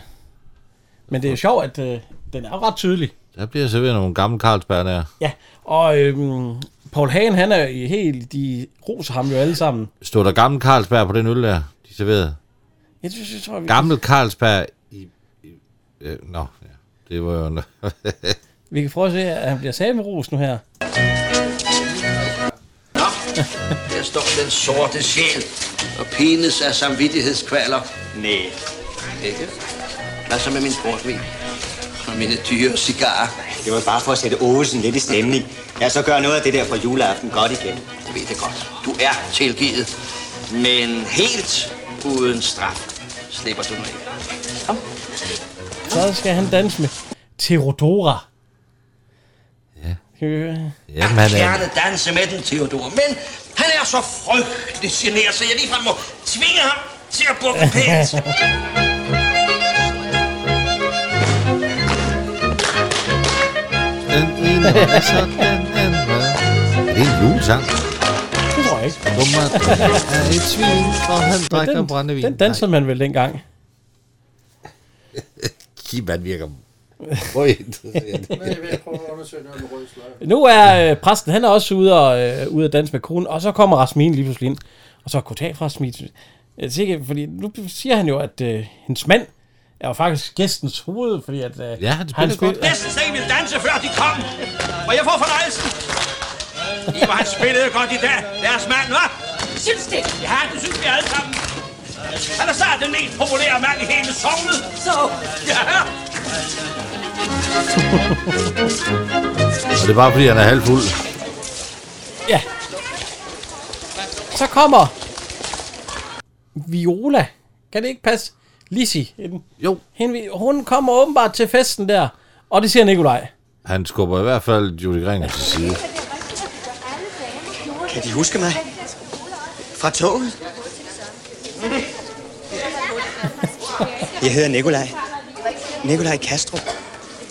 S1: Men det er jo sjovt, at øh, den er ret tydelig.
S2: der bliver serveret nogle gamle Carlsberg der.
S1: Ja, og øhm, Paul Hagen, han er i helt, de roser ham jo alle sammen.
S2: Stod der gamle Carlsberg på den øl der, de serverede?
S1: Jeg synes, jeg tror, vi...
S2: Gammel Carlsberg i... i øh, nå, ja. det var jo... en-
S1: Vi kan prøve at se, at han bliver sat med ros nu her.
S5: Der står den sorte sjæl og pines af samvittighedskvaler. Nej. Ikke? Hvad så med min portvin? Og mine dyre cigarer?
S9: Det var bare for at sætte Åsen lidt i stemning. Ja, så gør noget af det der fra juleaften godt igen.
S5: Jeg ved det godt. Du er tilgivet. Men helt uden straf slipper du mig ikke.
S1: Så skal han danse med Theodora. Ja. Skal vi høre?
S2: Jamen, han er...
S5: gerne danse med den, Theodor, men han er så frygtelig generet, så jeg ligefrem må tvinge ham til at bukke pænt.
S2: Den ene er så den anden. Er det en julesang?
S1: Det tror jeg ikke.
S2: Dummer er et svin, og han drikker brændevin.
S1: Den dansede man vel dengang.
S2: Kim, han virker... Hvor interesseret.
S3: Men jeg vil prøve at undersøge noget med rød sløjfe.
S1: Nu er øh, præsten, han er også ude og, øh, ude at danse med konen, og så kommer Rasmine lige pludselig ind. Og så, goddag fra Rasmine. Jeg er sikker, fordi nu siger han jo, at øh, hendes mand er jo faktisk gæstens hoved, fordi at... Øh,
S2: Ja, han spiller godt.
S15: Næsten så I ville danse, før de kom. Og jeg får fornøjelsen. I var han spillede godt i dag, deres mand, hva'? Synes det? Ja, det synes vi alle sammen. Han er snart den mest populære mand i hele sognet. Så? Ja.
S2: Og det er bare, fordi han er halvfuld.
S1: Så kommer Viola. Kan det ikke passe? Lizzie. Jo. Hende, hun kommer åbenbart til festen der. Og det siger Nikolaj.
S2: Han skubber i hvert fald Judy Gringer til side.
S9: Kan de huske mig? Fra toget? Jeg hedder Nikolaj. Nikolaj Kastrup.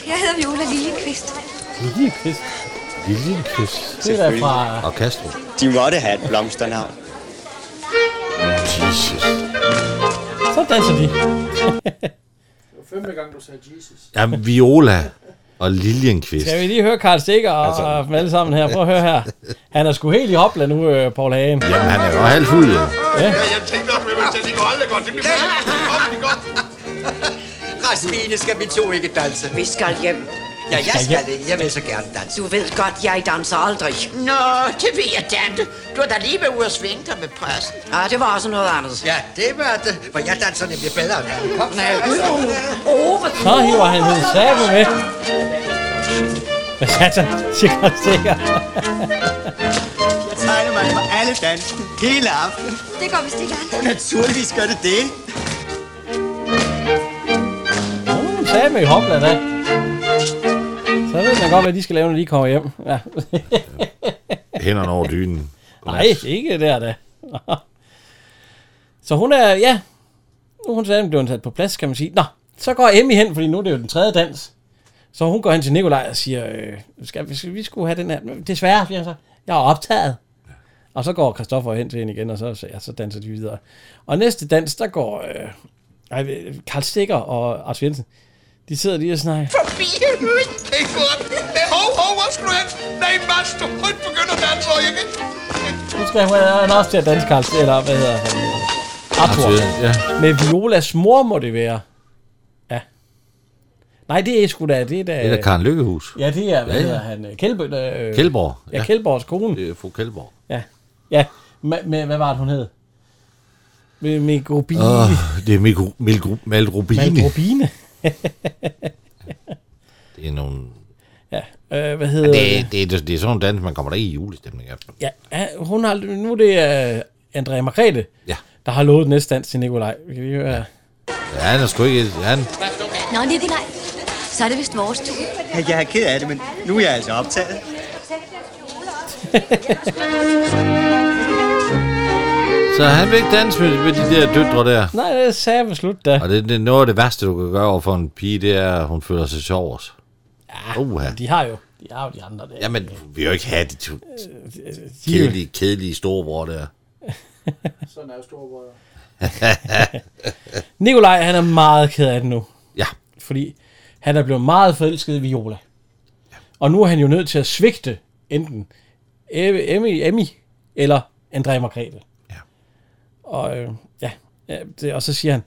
S8: Jeg hedder Viola Lillekvist.
S1: Lillekvist?
S2: Lillekvist?
S1: Det er da fra...
S2: Og Kastrup.
S9: De måtte have et blomsternavn.
S2: Jesus.
S1: Så danser de.
S3: Det var femte gang, du sagde Jesus.
S2: Jamen, Viola og Liljenkvist.
S1: Skal vi lige høre Karl Stikker og, altså. og dem alle sammen her? Prøv at høre her. Han er sgu helt i hopla nu, øh, Paul Hagen.
S2: Jamen, han er jo halvt fuld,
S1: Ja.
S2: ja.
S25: Jeg tænkte også med mig selv, det går aldrig godt. Det bliver aldrig godt.
S13: Rasmine, skal vi to ikke danse?
S18: Vi skal hjem.
S13: Ja, jeg skal det. Jeg vil så gerne danse.
S18: Du ved godt, jeg danser aldrig.
S26: Nå, det ved jeg, Dante. Du har da lige været ude og svinge dig med pressen.
S18: Ja, det var også noget andet.
S13: Ja, det var det. For jeg danser nemlig bedre end han. Kom,
S18: Nej,
S1: Så hiver han hendes sabe med. Hvad satan, siger Karl Stikker.
S9: Jeg tegner mig for alle dansen hele aftenen.
S8: Det går vist ikke an.
S9: Naturligvis gør det det.
S1: Hun sagde med i hopla da. Så ved man godt, hvad de skal lave, når de kommer hjem. Ja.
S2: Hænderne over dynen.
S1: Nej, ikke der da. Så hun er, ja, nu er hun sagde, at hun sat på plads, kan man sige. Nå, så går Emmy hen, fordi nu er det jo den tredje dans. Så hun går hen til Nikolaj og siger, øh, skal, vi, skal, vi skulle have den her. Men Desværre, siger han så, jeg er optaget. Og så går Kristoffer hen til hende igen, og så, så, ja, så danser de videre. Og næste dans, der går øh, ej, øh, Karl Stikker og Arthur Jensen. De sidder lige og snakker.
S25: Forbi helvede. Det er godt. Det er hov, hov, hvor skal du hen? Nej, Mads, du hun begynder at danse, og jeg kan...
S1: Nu skal han også til at danse Karl Stikker, eller hvad hedder han? Arthur.
S2: Arthur, ja.
S1: Med Violas mor må det være. Ja. Nej, det er sgu da, det er da...
S2: Det er da Karen Lykkehus.
S1: Ja, det er, hvad
S2: Ja,
S1: ja,
S2: ja.
S1: hedder han? øh, Kjellbo, øh,
S2: Kjeldborg,
S1: Ja,
S2: ja.
S1: ja. Kjeldborgs kone.
S2: Det er fru Kjeldborg.
S1: Ja. Ja, med, med hvad var det, hun hed? Med Mikrobine.
S2: Åh,
S1: Oh,
S2: det er Mikro- Milgru- Malrubine.
S1: Mikrobine.
S2: Det er nogle...
S1: ja, øh, hvad hedder
S2: Det, er- det, er, det er sådan nogle dans, man kommer der i julestemning af.
S1: Ja, ja, hun har, nu er det uh, Andrea Margrethe,
S2: Ja.
S1: der har lovet næste dans til Nikolaj. Vi kan lige høre. Ja.
S2: Ja, han er sgu ikke... Han,
S8: Nå, Nikolaj, så er det vist vores tur.
S9: Jeg er ked af det, men nu er jeg altså optaget.
S2: så han vil ikke danse med, med de der døtre der.
S1: Nej, det sagde jeg slut da.
S2: Og det, det, er noget af det værste, du kan gøre over for en pige, det er, at hun føler sig sjov også.
S1: Ja,
S2: Uha.
S1: De har jo, de har jo de andre der. Øh,
S2: Jamen, vi vil jo ikke have de to
S1: de er jo-
S2: kedelige, kedelige storebror der.
S3: Sådan er jo storebrødre.
S1: Nikolaj, han er meget ked af det nu.
S2: Ja.
S1: Fordi han er blevet meget forelsket i Viola. Og nu er han jo nødt til at svigte enten E- Emmy, Emmy eller Andrea Margrethe. Ja. Og, øh, ja, ja, det, og så siger han,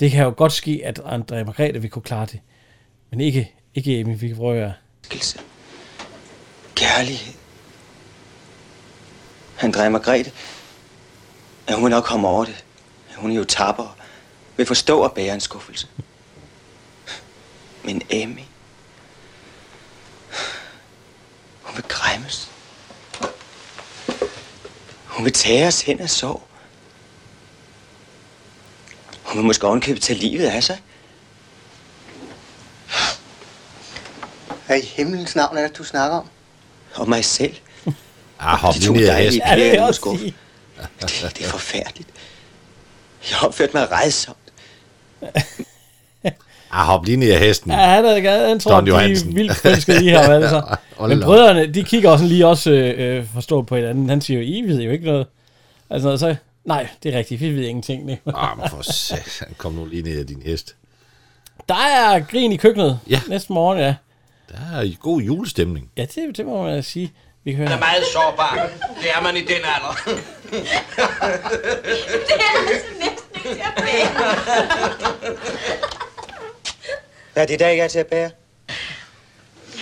S1: det kan jo godt ske, at Andrea Margrethe vil kunne klare det. Men ikke, ikke Emmy, vi kan prøve at gøre.
S9: Kærlighed. Andrea Margrethe, at hun vil nok komme over det. Hun er jo tapper og vil forstå at bære en skuffelse. Men Amy, hun vil græmmes. Hun vil tage os hen og sove. Hun vil måske ovenkøbe tage livet af sig. Hvad i himlens navn er det, du snakker om? Og mig selv.
S2: Ah, hop
S9: De
S2: lige
S9: to
S2: ned af
S9: dejlige
S2: hesten.
S9: piger
S2: Ja,
S9: i
S2: det er også
S9: Moskov. Det, det er forfærdeligt. Jeg har opført mig redsomt.
S2: Ah, hop lige ned af hesten.
S1: Ja, han er gad, han tror,
S2: Don
S1: at de
S2: Johansen.
S1: er vildt forelskede i ham alle sammen.
S2: Hold
S1: Men
S2: da op.
S1: brødrene, de kigger også lige også øh, øh, forstå på hinanden. Han siger jo, I ved jo ikke noget. Altså, så, nej, det er rigtigt, vi ved ingenting. Nej.
S2: Ah, men for satan, kom nu lige ned af din hest.
S1: Der er grin i køkkenet
S2: Ja.
S1: næste morgen, ja.
S2: Der er god julestemning.
S1: Ja, det, det må man sige. Vi kan
S26: Han
S1: høre.
S26: er meget sårbar. Det er man i den alder.
S21: Det er altså næsten ikke til at
S9: Hvad er det, der ikke er til at bære?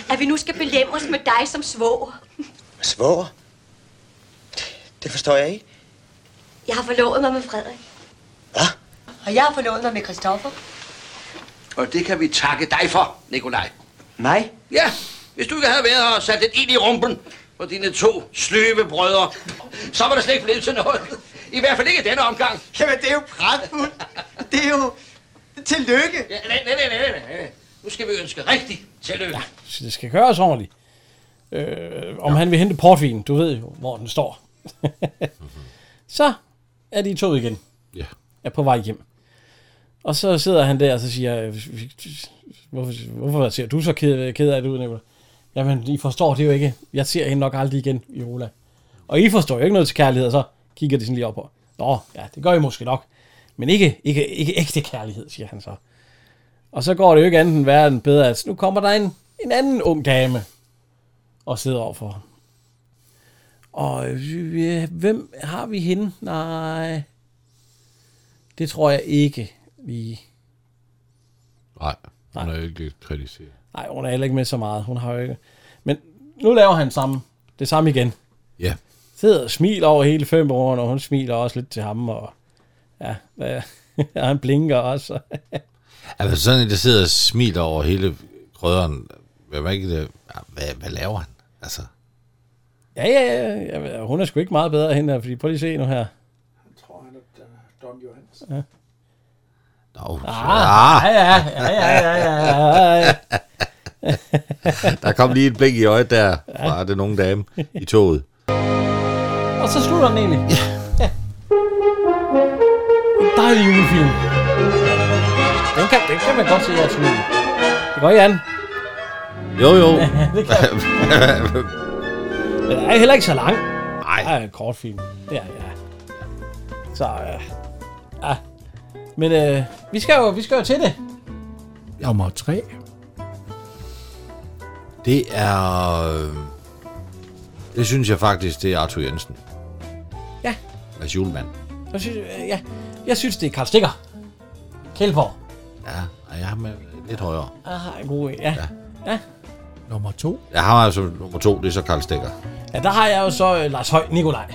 S8: At vi nu skal belemres med dig som svoger.
S9: Svoger? Det forstår jeg ikke.
S8: Jeg har forlovet mig med Frederik. Hvad? Og jeg har forlovet mig med Christoffer.
S26: Og det kan vi takke dig for, Nikolaj.
S9: Mig?
S26: Ja, hvis du ikke havde været her og sat et ild i rumpen på dine to sløve brødre, så var det slet ikke blevet til noget.
S5: I hvert fald ikke i denne omgang. Jamen, det er jo pragtfuldt. Det er jo... Tillykke. Ja, nej, nej, nej, nej, nej, nej. Nu skal vi ønske rigtig tillykke. Ja.
S1: Så det skal gøres ordentligt. Øh, om ja. han vil hente portvin, du ved jo, hvor den står. så er de to igen.
S2: Ja.
S1: Er på vej hjem. Og så sidder han der, og så siger jeg, hvorfor, hvorfor ser du så ked, ked af det ud, Nicola? Jamen, I forstår det jo ikke. Jeg ser hende nok aldrig igen, Iola. Og I forstår jo ikke noget til kærlighed, og så kigger de sådan lige op på. Nå, ja, det gør I måske nok. Men ikke, ikke, ikke ægte kærlighed, siger han så. Og så går det jo ikke andet end værre end bedre, at nu kommer der en, en anden ung dame og sidder overfor ham. Og øh, hvem har vi hende? Nej, det tror jeg ikke, vi
S2: Nej, hun er ikke kritiseret.
S1: Nej, hun er heller ikke med så meget. Hun har jo ikke... Men nu laver han samme, det samme igen.
S2: Ja.
S1: Sidder og smiler over hele fem år, og hun smiler også lidt til ham, og ja, hvad- og han blinker også.
S2: Altså sådan en, der sidder og smiler over hele krødderen. Hvad, hvad, hvad, hvad laver han? Altså,
S1: ja, ja, ja, ja, hun er sgu ikke meget bedre hende her, fordi prøv lige at se nu her.
S3: Don Johansen.
S1: Ja.
S2: Nå,
S1: ah, ja, ja, ja, ja, ja, ja, ja.
S2: der kom lige et blink i øjet der fra den unge dame i toget.
S1: Og så slutter den egentlig. Ja. En dejlig julefilm. Den kan, den kan man godt se, jeg slutter. Det går, Jan.
S2: Jo, jo.
S1: det kan Den er heller ikke så lang.
S2: Nej.
S1: Det er en kort film. Ja, ja. Så, øh, ja. Men øh, vi, skal jo, vi skal jo til det.
S27: Nummer 3.
S2: Det er... øh, Det synes jeg faktisk, det er Arthur Jensen.
S1: Ja.
S2: Mads julemand.
S1: Jeg synes, øh, ja. jeg synes det er Karl Stikker. Kjeldborg.
S2: Ja, og jeg har med lidt højere.
S1: Ah, en god en. Ja. ja. ja.
S27: Nummer 2.
S2: Jeg har altså nummer to, det er så Karl Stikker.
S1: Ja, der har jeg jo så øh, Lars Høj Nikolaj.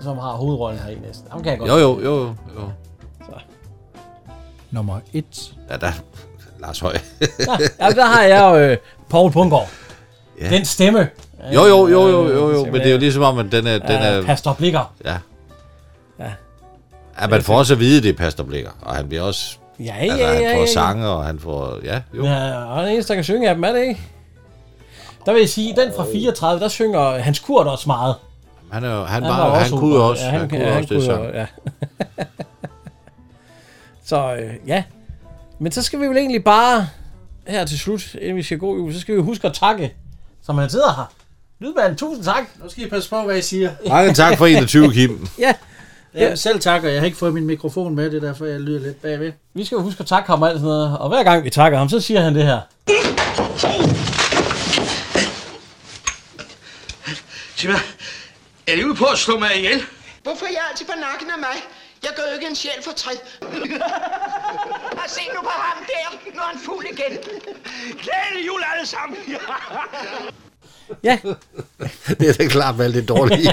S1: Som har hovedrollen her i næsten. Ham kan jeg godt.
S2: Jo, jo, jo, jo, jo.
S27: Nummer 1.
S2: Ja, der... Lars Høj.
S1: Ja, ja, der har jeg jo øh, Poul Bundgaard.
S2: Ja.
S1: Ja. Den stemme.
S2: Jo, jo, jo, jo, jo, jo, men det er jo ligesom om, at den er... Den er
S1: Pastor Blikker.
S2: Ja.
S1: Ja.
S2: Ja, man får også at vide, det er Pastor Blikker, og han bliver også...
S1: Ja, ja,
S2: altså,
S1: ja,
S2: han
S1: ja,
S2: får
S1: ja.
S2: sange, og han får... Ja, jo.
S1: Ja, og den eneste, der kan synge af dem, er det ikke? Der vil jeg sige, den fra 34, der synger Hans Kurt også meget.
S2: Han, er, jo- han, var, han, kunne jo
S1: opera-
S2: også,
S1: ja,
S2: han,
S1: han
S2: kunne også det
S1: kunne
S2: sang.
S1: jo- ja. så øh, ja. Men så skal vi vel egentlig bare her til slut, inden vi skal gå, jo, så skal vi jo huske at takke, som han sidder her. Lydmanden, tusind tak.
S3: Nu skal I passe på, hvad I siger.
S2: Mange tak for 21, Kim.
S1: ja.
S3: ja. Selv tak, og jeg har ikke fået min mikrofon med, det er derfor, jeg lyder lidt bagved.
S1: Vi skal jo huske at takke ham og alt sådan noget. Og hver gang vi takker ham, så siger han det her.
S15: Sig mig, er det ude på at slå mig ihjel?
S28: Hvorfor er jeg altid på nakken af mig? Jeg gør jo ikke en sjæl for træd. Og se nu på ham der. Nu er han fuld igen. Glædelig jul alle sammen.
S1: Ja.
S2: det er da klart valgt det dårligt.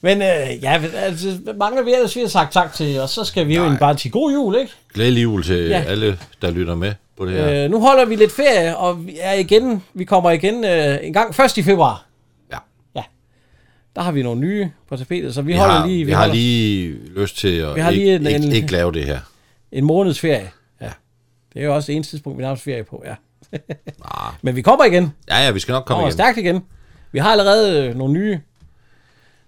S1: Men øh, ja, altså, mange af jer, der har sagt tak til, og så skal vi jo egentlig bare til god jul, ikke?
S2: Glædelig jul til
S1: Ja.
S2: ja. alle, der lytter med på det her.
S1: Ja. Øh, nu holder vi lidt ferie, og vi, er igen, vi kommer igen øh, en gang først i februar.
S2: Ja.
S1: Ja. Der har vi nogle nye på tapetet, så vi,
S2: vi
S1: holder
S2: har,
S1: lige,
S2: vi har
S1: holder
S2: lige lyst til at
S1: Vi har lige
S2: ikke,
S1: en- en-
S2: ikke, ikke lave det her.
S1: en måneds ferie. Ja. Det er jo også det eneste tidspunkt, vi nærmest ferie på, ja.
S2: Ah.
S1: Men vi kommer igen.
S2: Ja, ja, vi skal nok komme
S1: kommer
S2: igen.
S1: stærkt igen. Vi har allerede øh, nogle nye,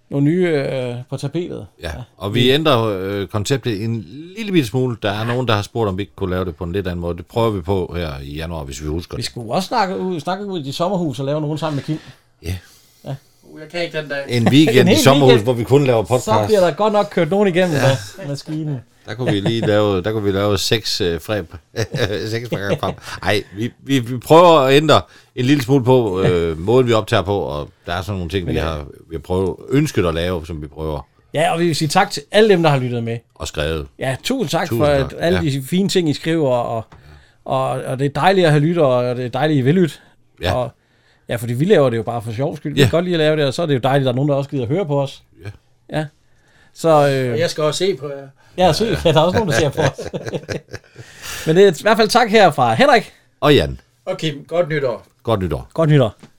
S1: nogle nye øh, på tapetet.
S2: Ja. Og vi ændrer øh, konceptet en lille bitte smule. Der er nogen, der har spurgt, om vi ikke kunne lave det på en lidt anden måde. Det prøver vi på her i januar, hvis vi husker
S1: Vi
S2: det.
S1: skulle også snakke ud, snakke ud i de sommerhus og lave nogen sammen med Kim.
S3: Uh, jeg kan ikke den dag.
S2: En weekend
S1: En
S2: i
S1: hel
S2: sommerhus,
S1: weekend.
S2: hvor vi kun laver podcast.
S1: Så bliver der godt nok kørt nogen igennem ja. med maskinen.
S2: Der kunne vi lige lave, der kunne vi lave seks øh, frem. seks par gange frem. Ej, vi, vi, vi prøver at ændre en lille smule på øh, måden, vi optager på, og der er sådan nogle ting, vi har, vi har prøvet, ønsket at lave, som vi prøver
S1: Ja, og vi vil sige tak til alle dem, der har lyttet med.
S2: at skrive.
S1: Ja, tusind tak for
S2: Tusind tak,
S1: at alle
S2: ja.
S1: de fine ting, I skriver, og, og, og det er dejligt at have lyttere, og det er dejligt, at I vil lytte.
S2: Ja.
S1: Og, ja, fordi vi laver det jo bare for sjov skyld. Vi
S3: Ja.
S1: kan godt lide at lave det, og så er det jo dejligt, at der er nogen, der også gider at høre på os.
S2: Ja.
S1: ja. Så, øh,
S3: Og jeg skal også se på jer.
S1: ja, se, ja, der er også nogen, der ser på os. Men det er i hvert fald tak her fra Henrik.
S2: Og Jan,
S3: Okay, godt nytår.
S2: godt nytår.
S1: Godt nytår.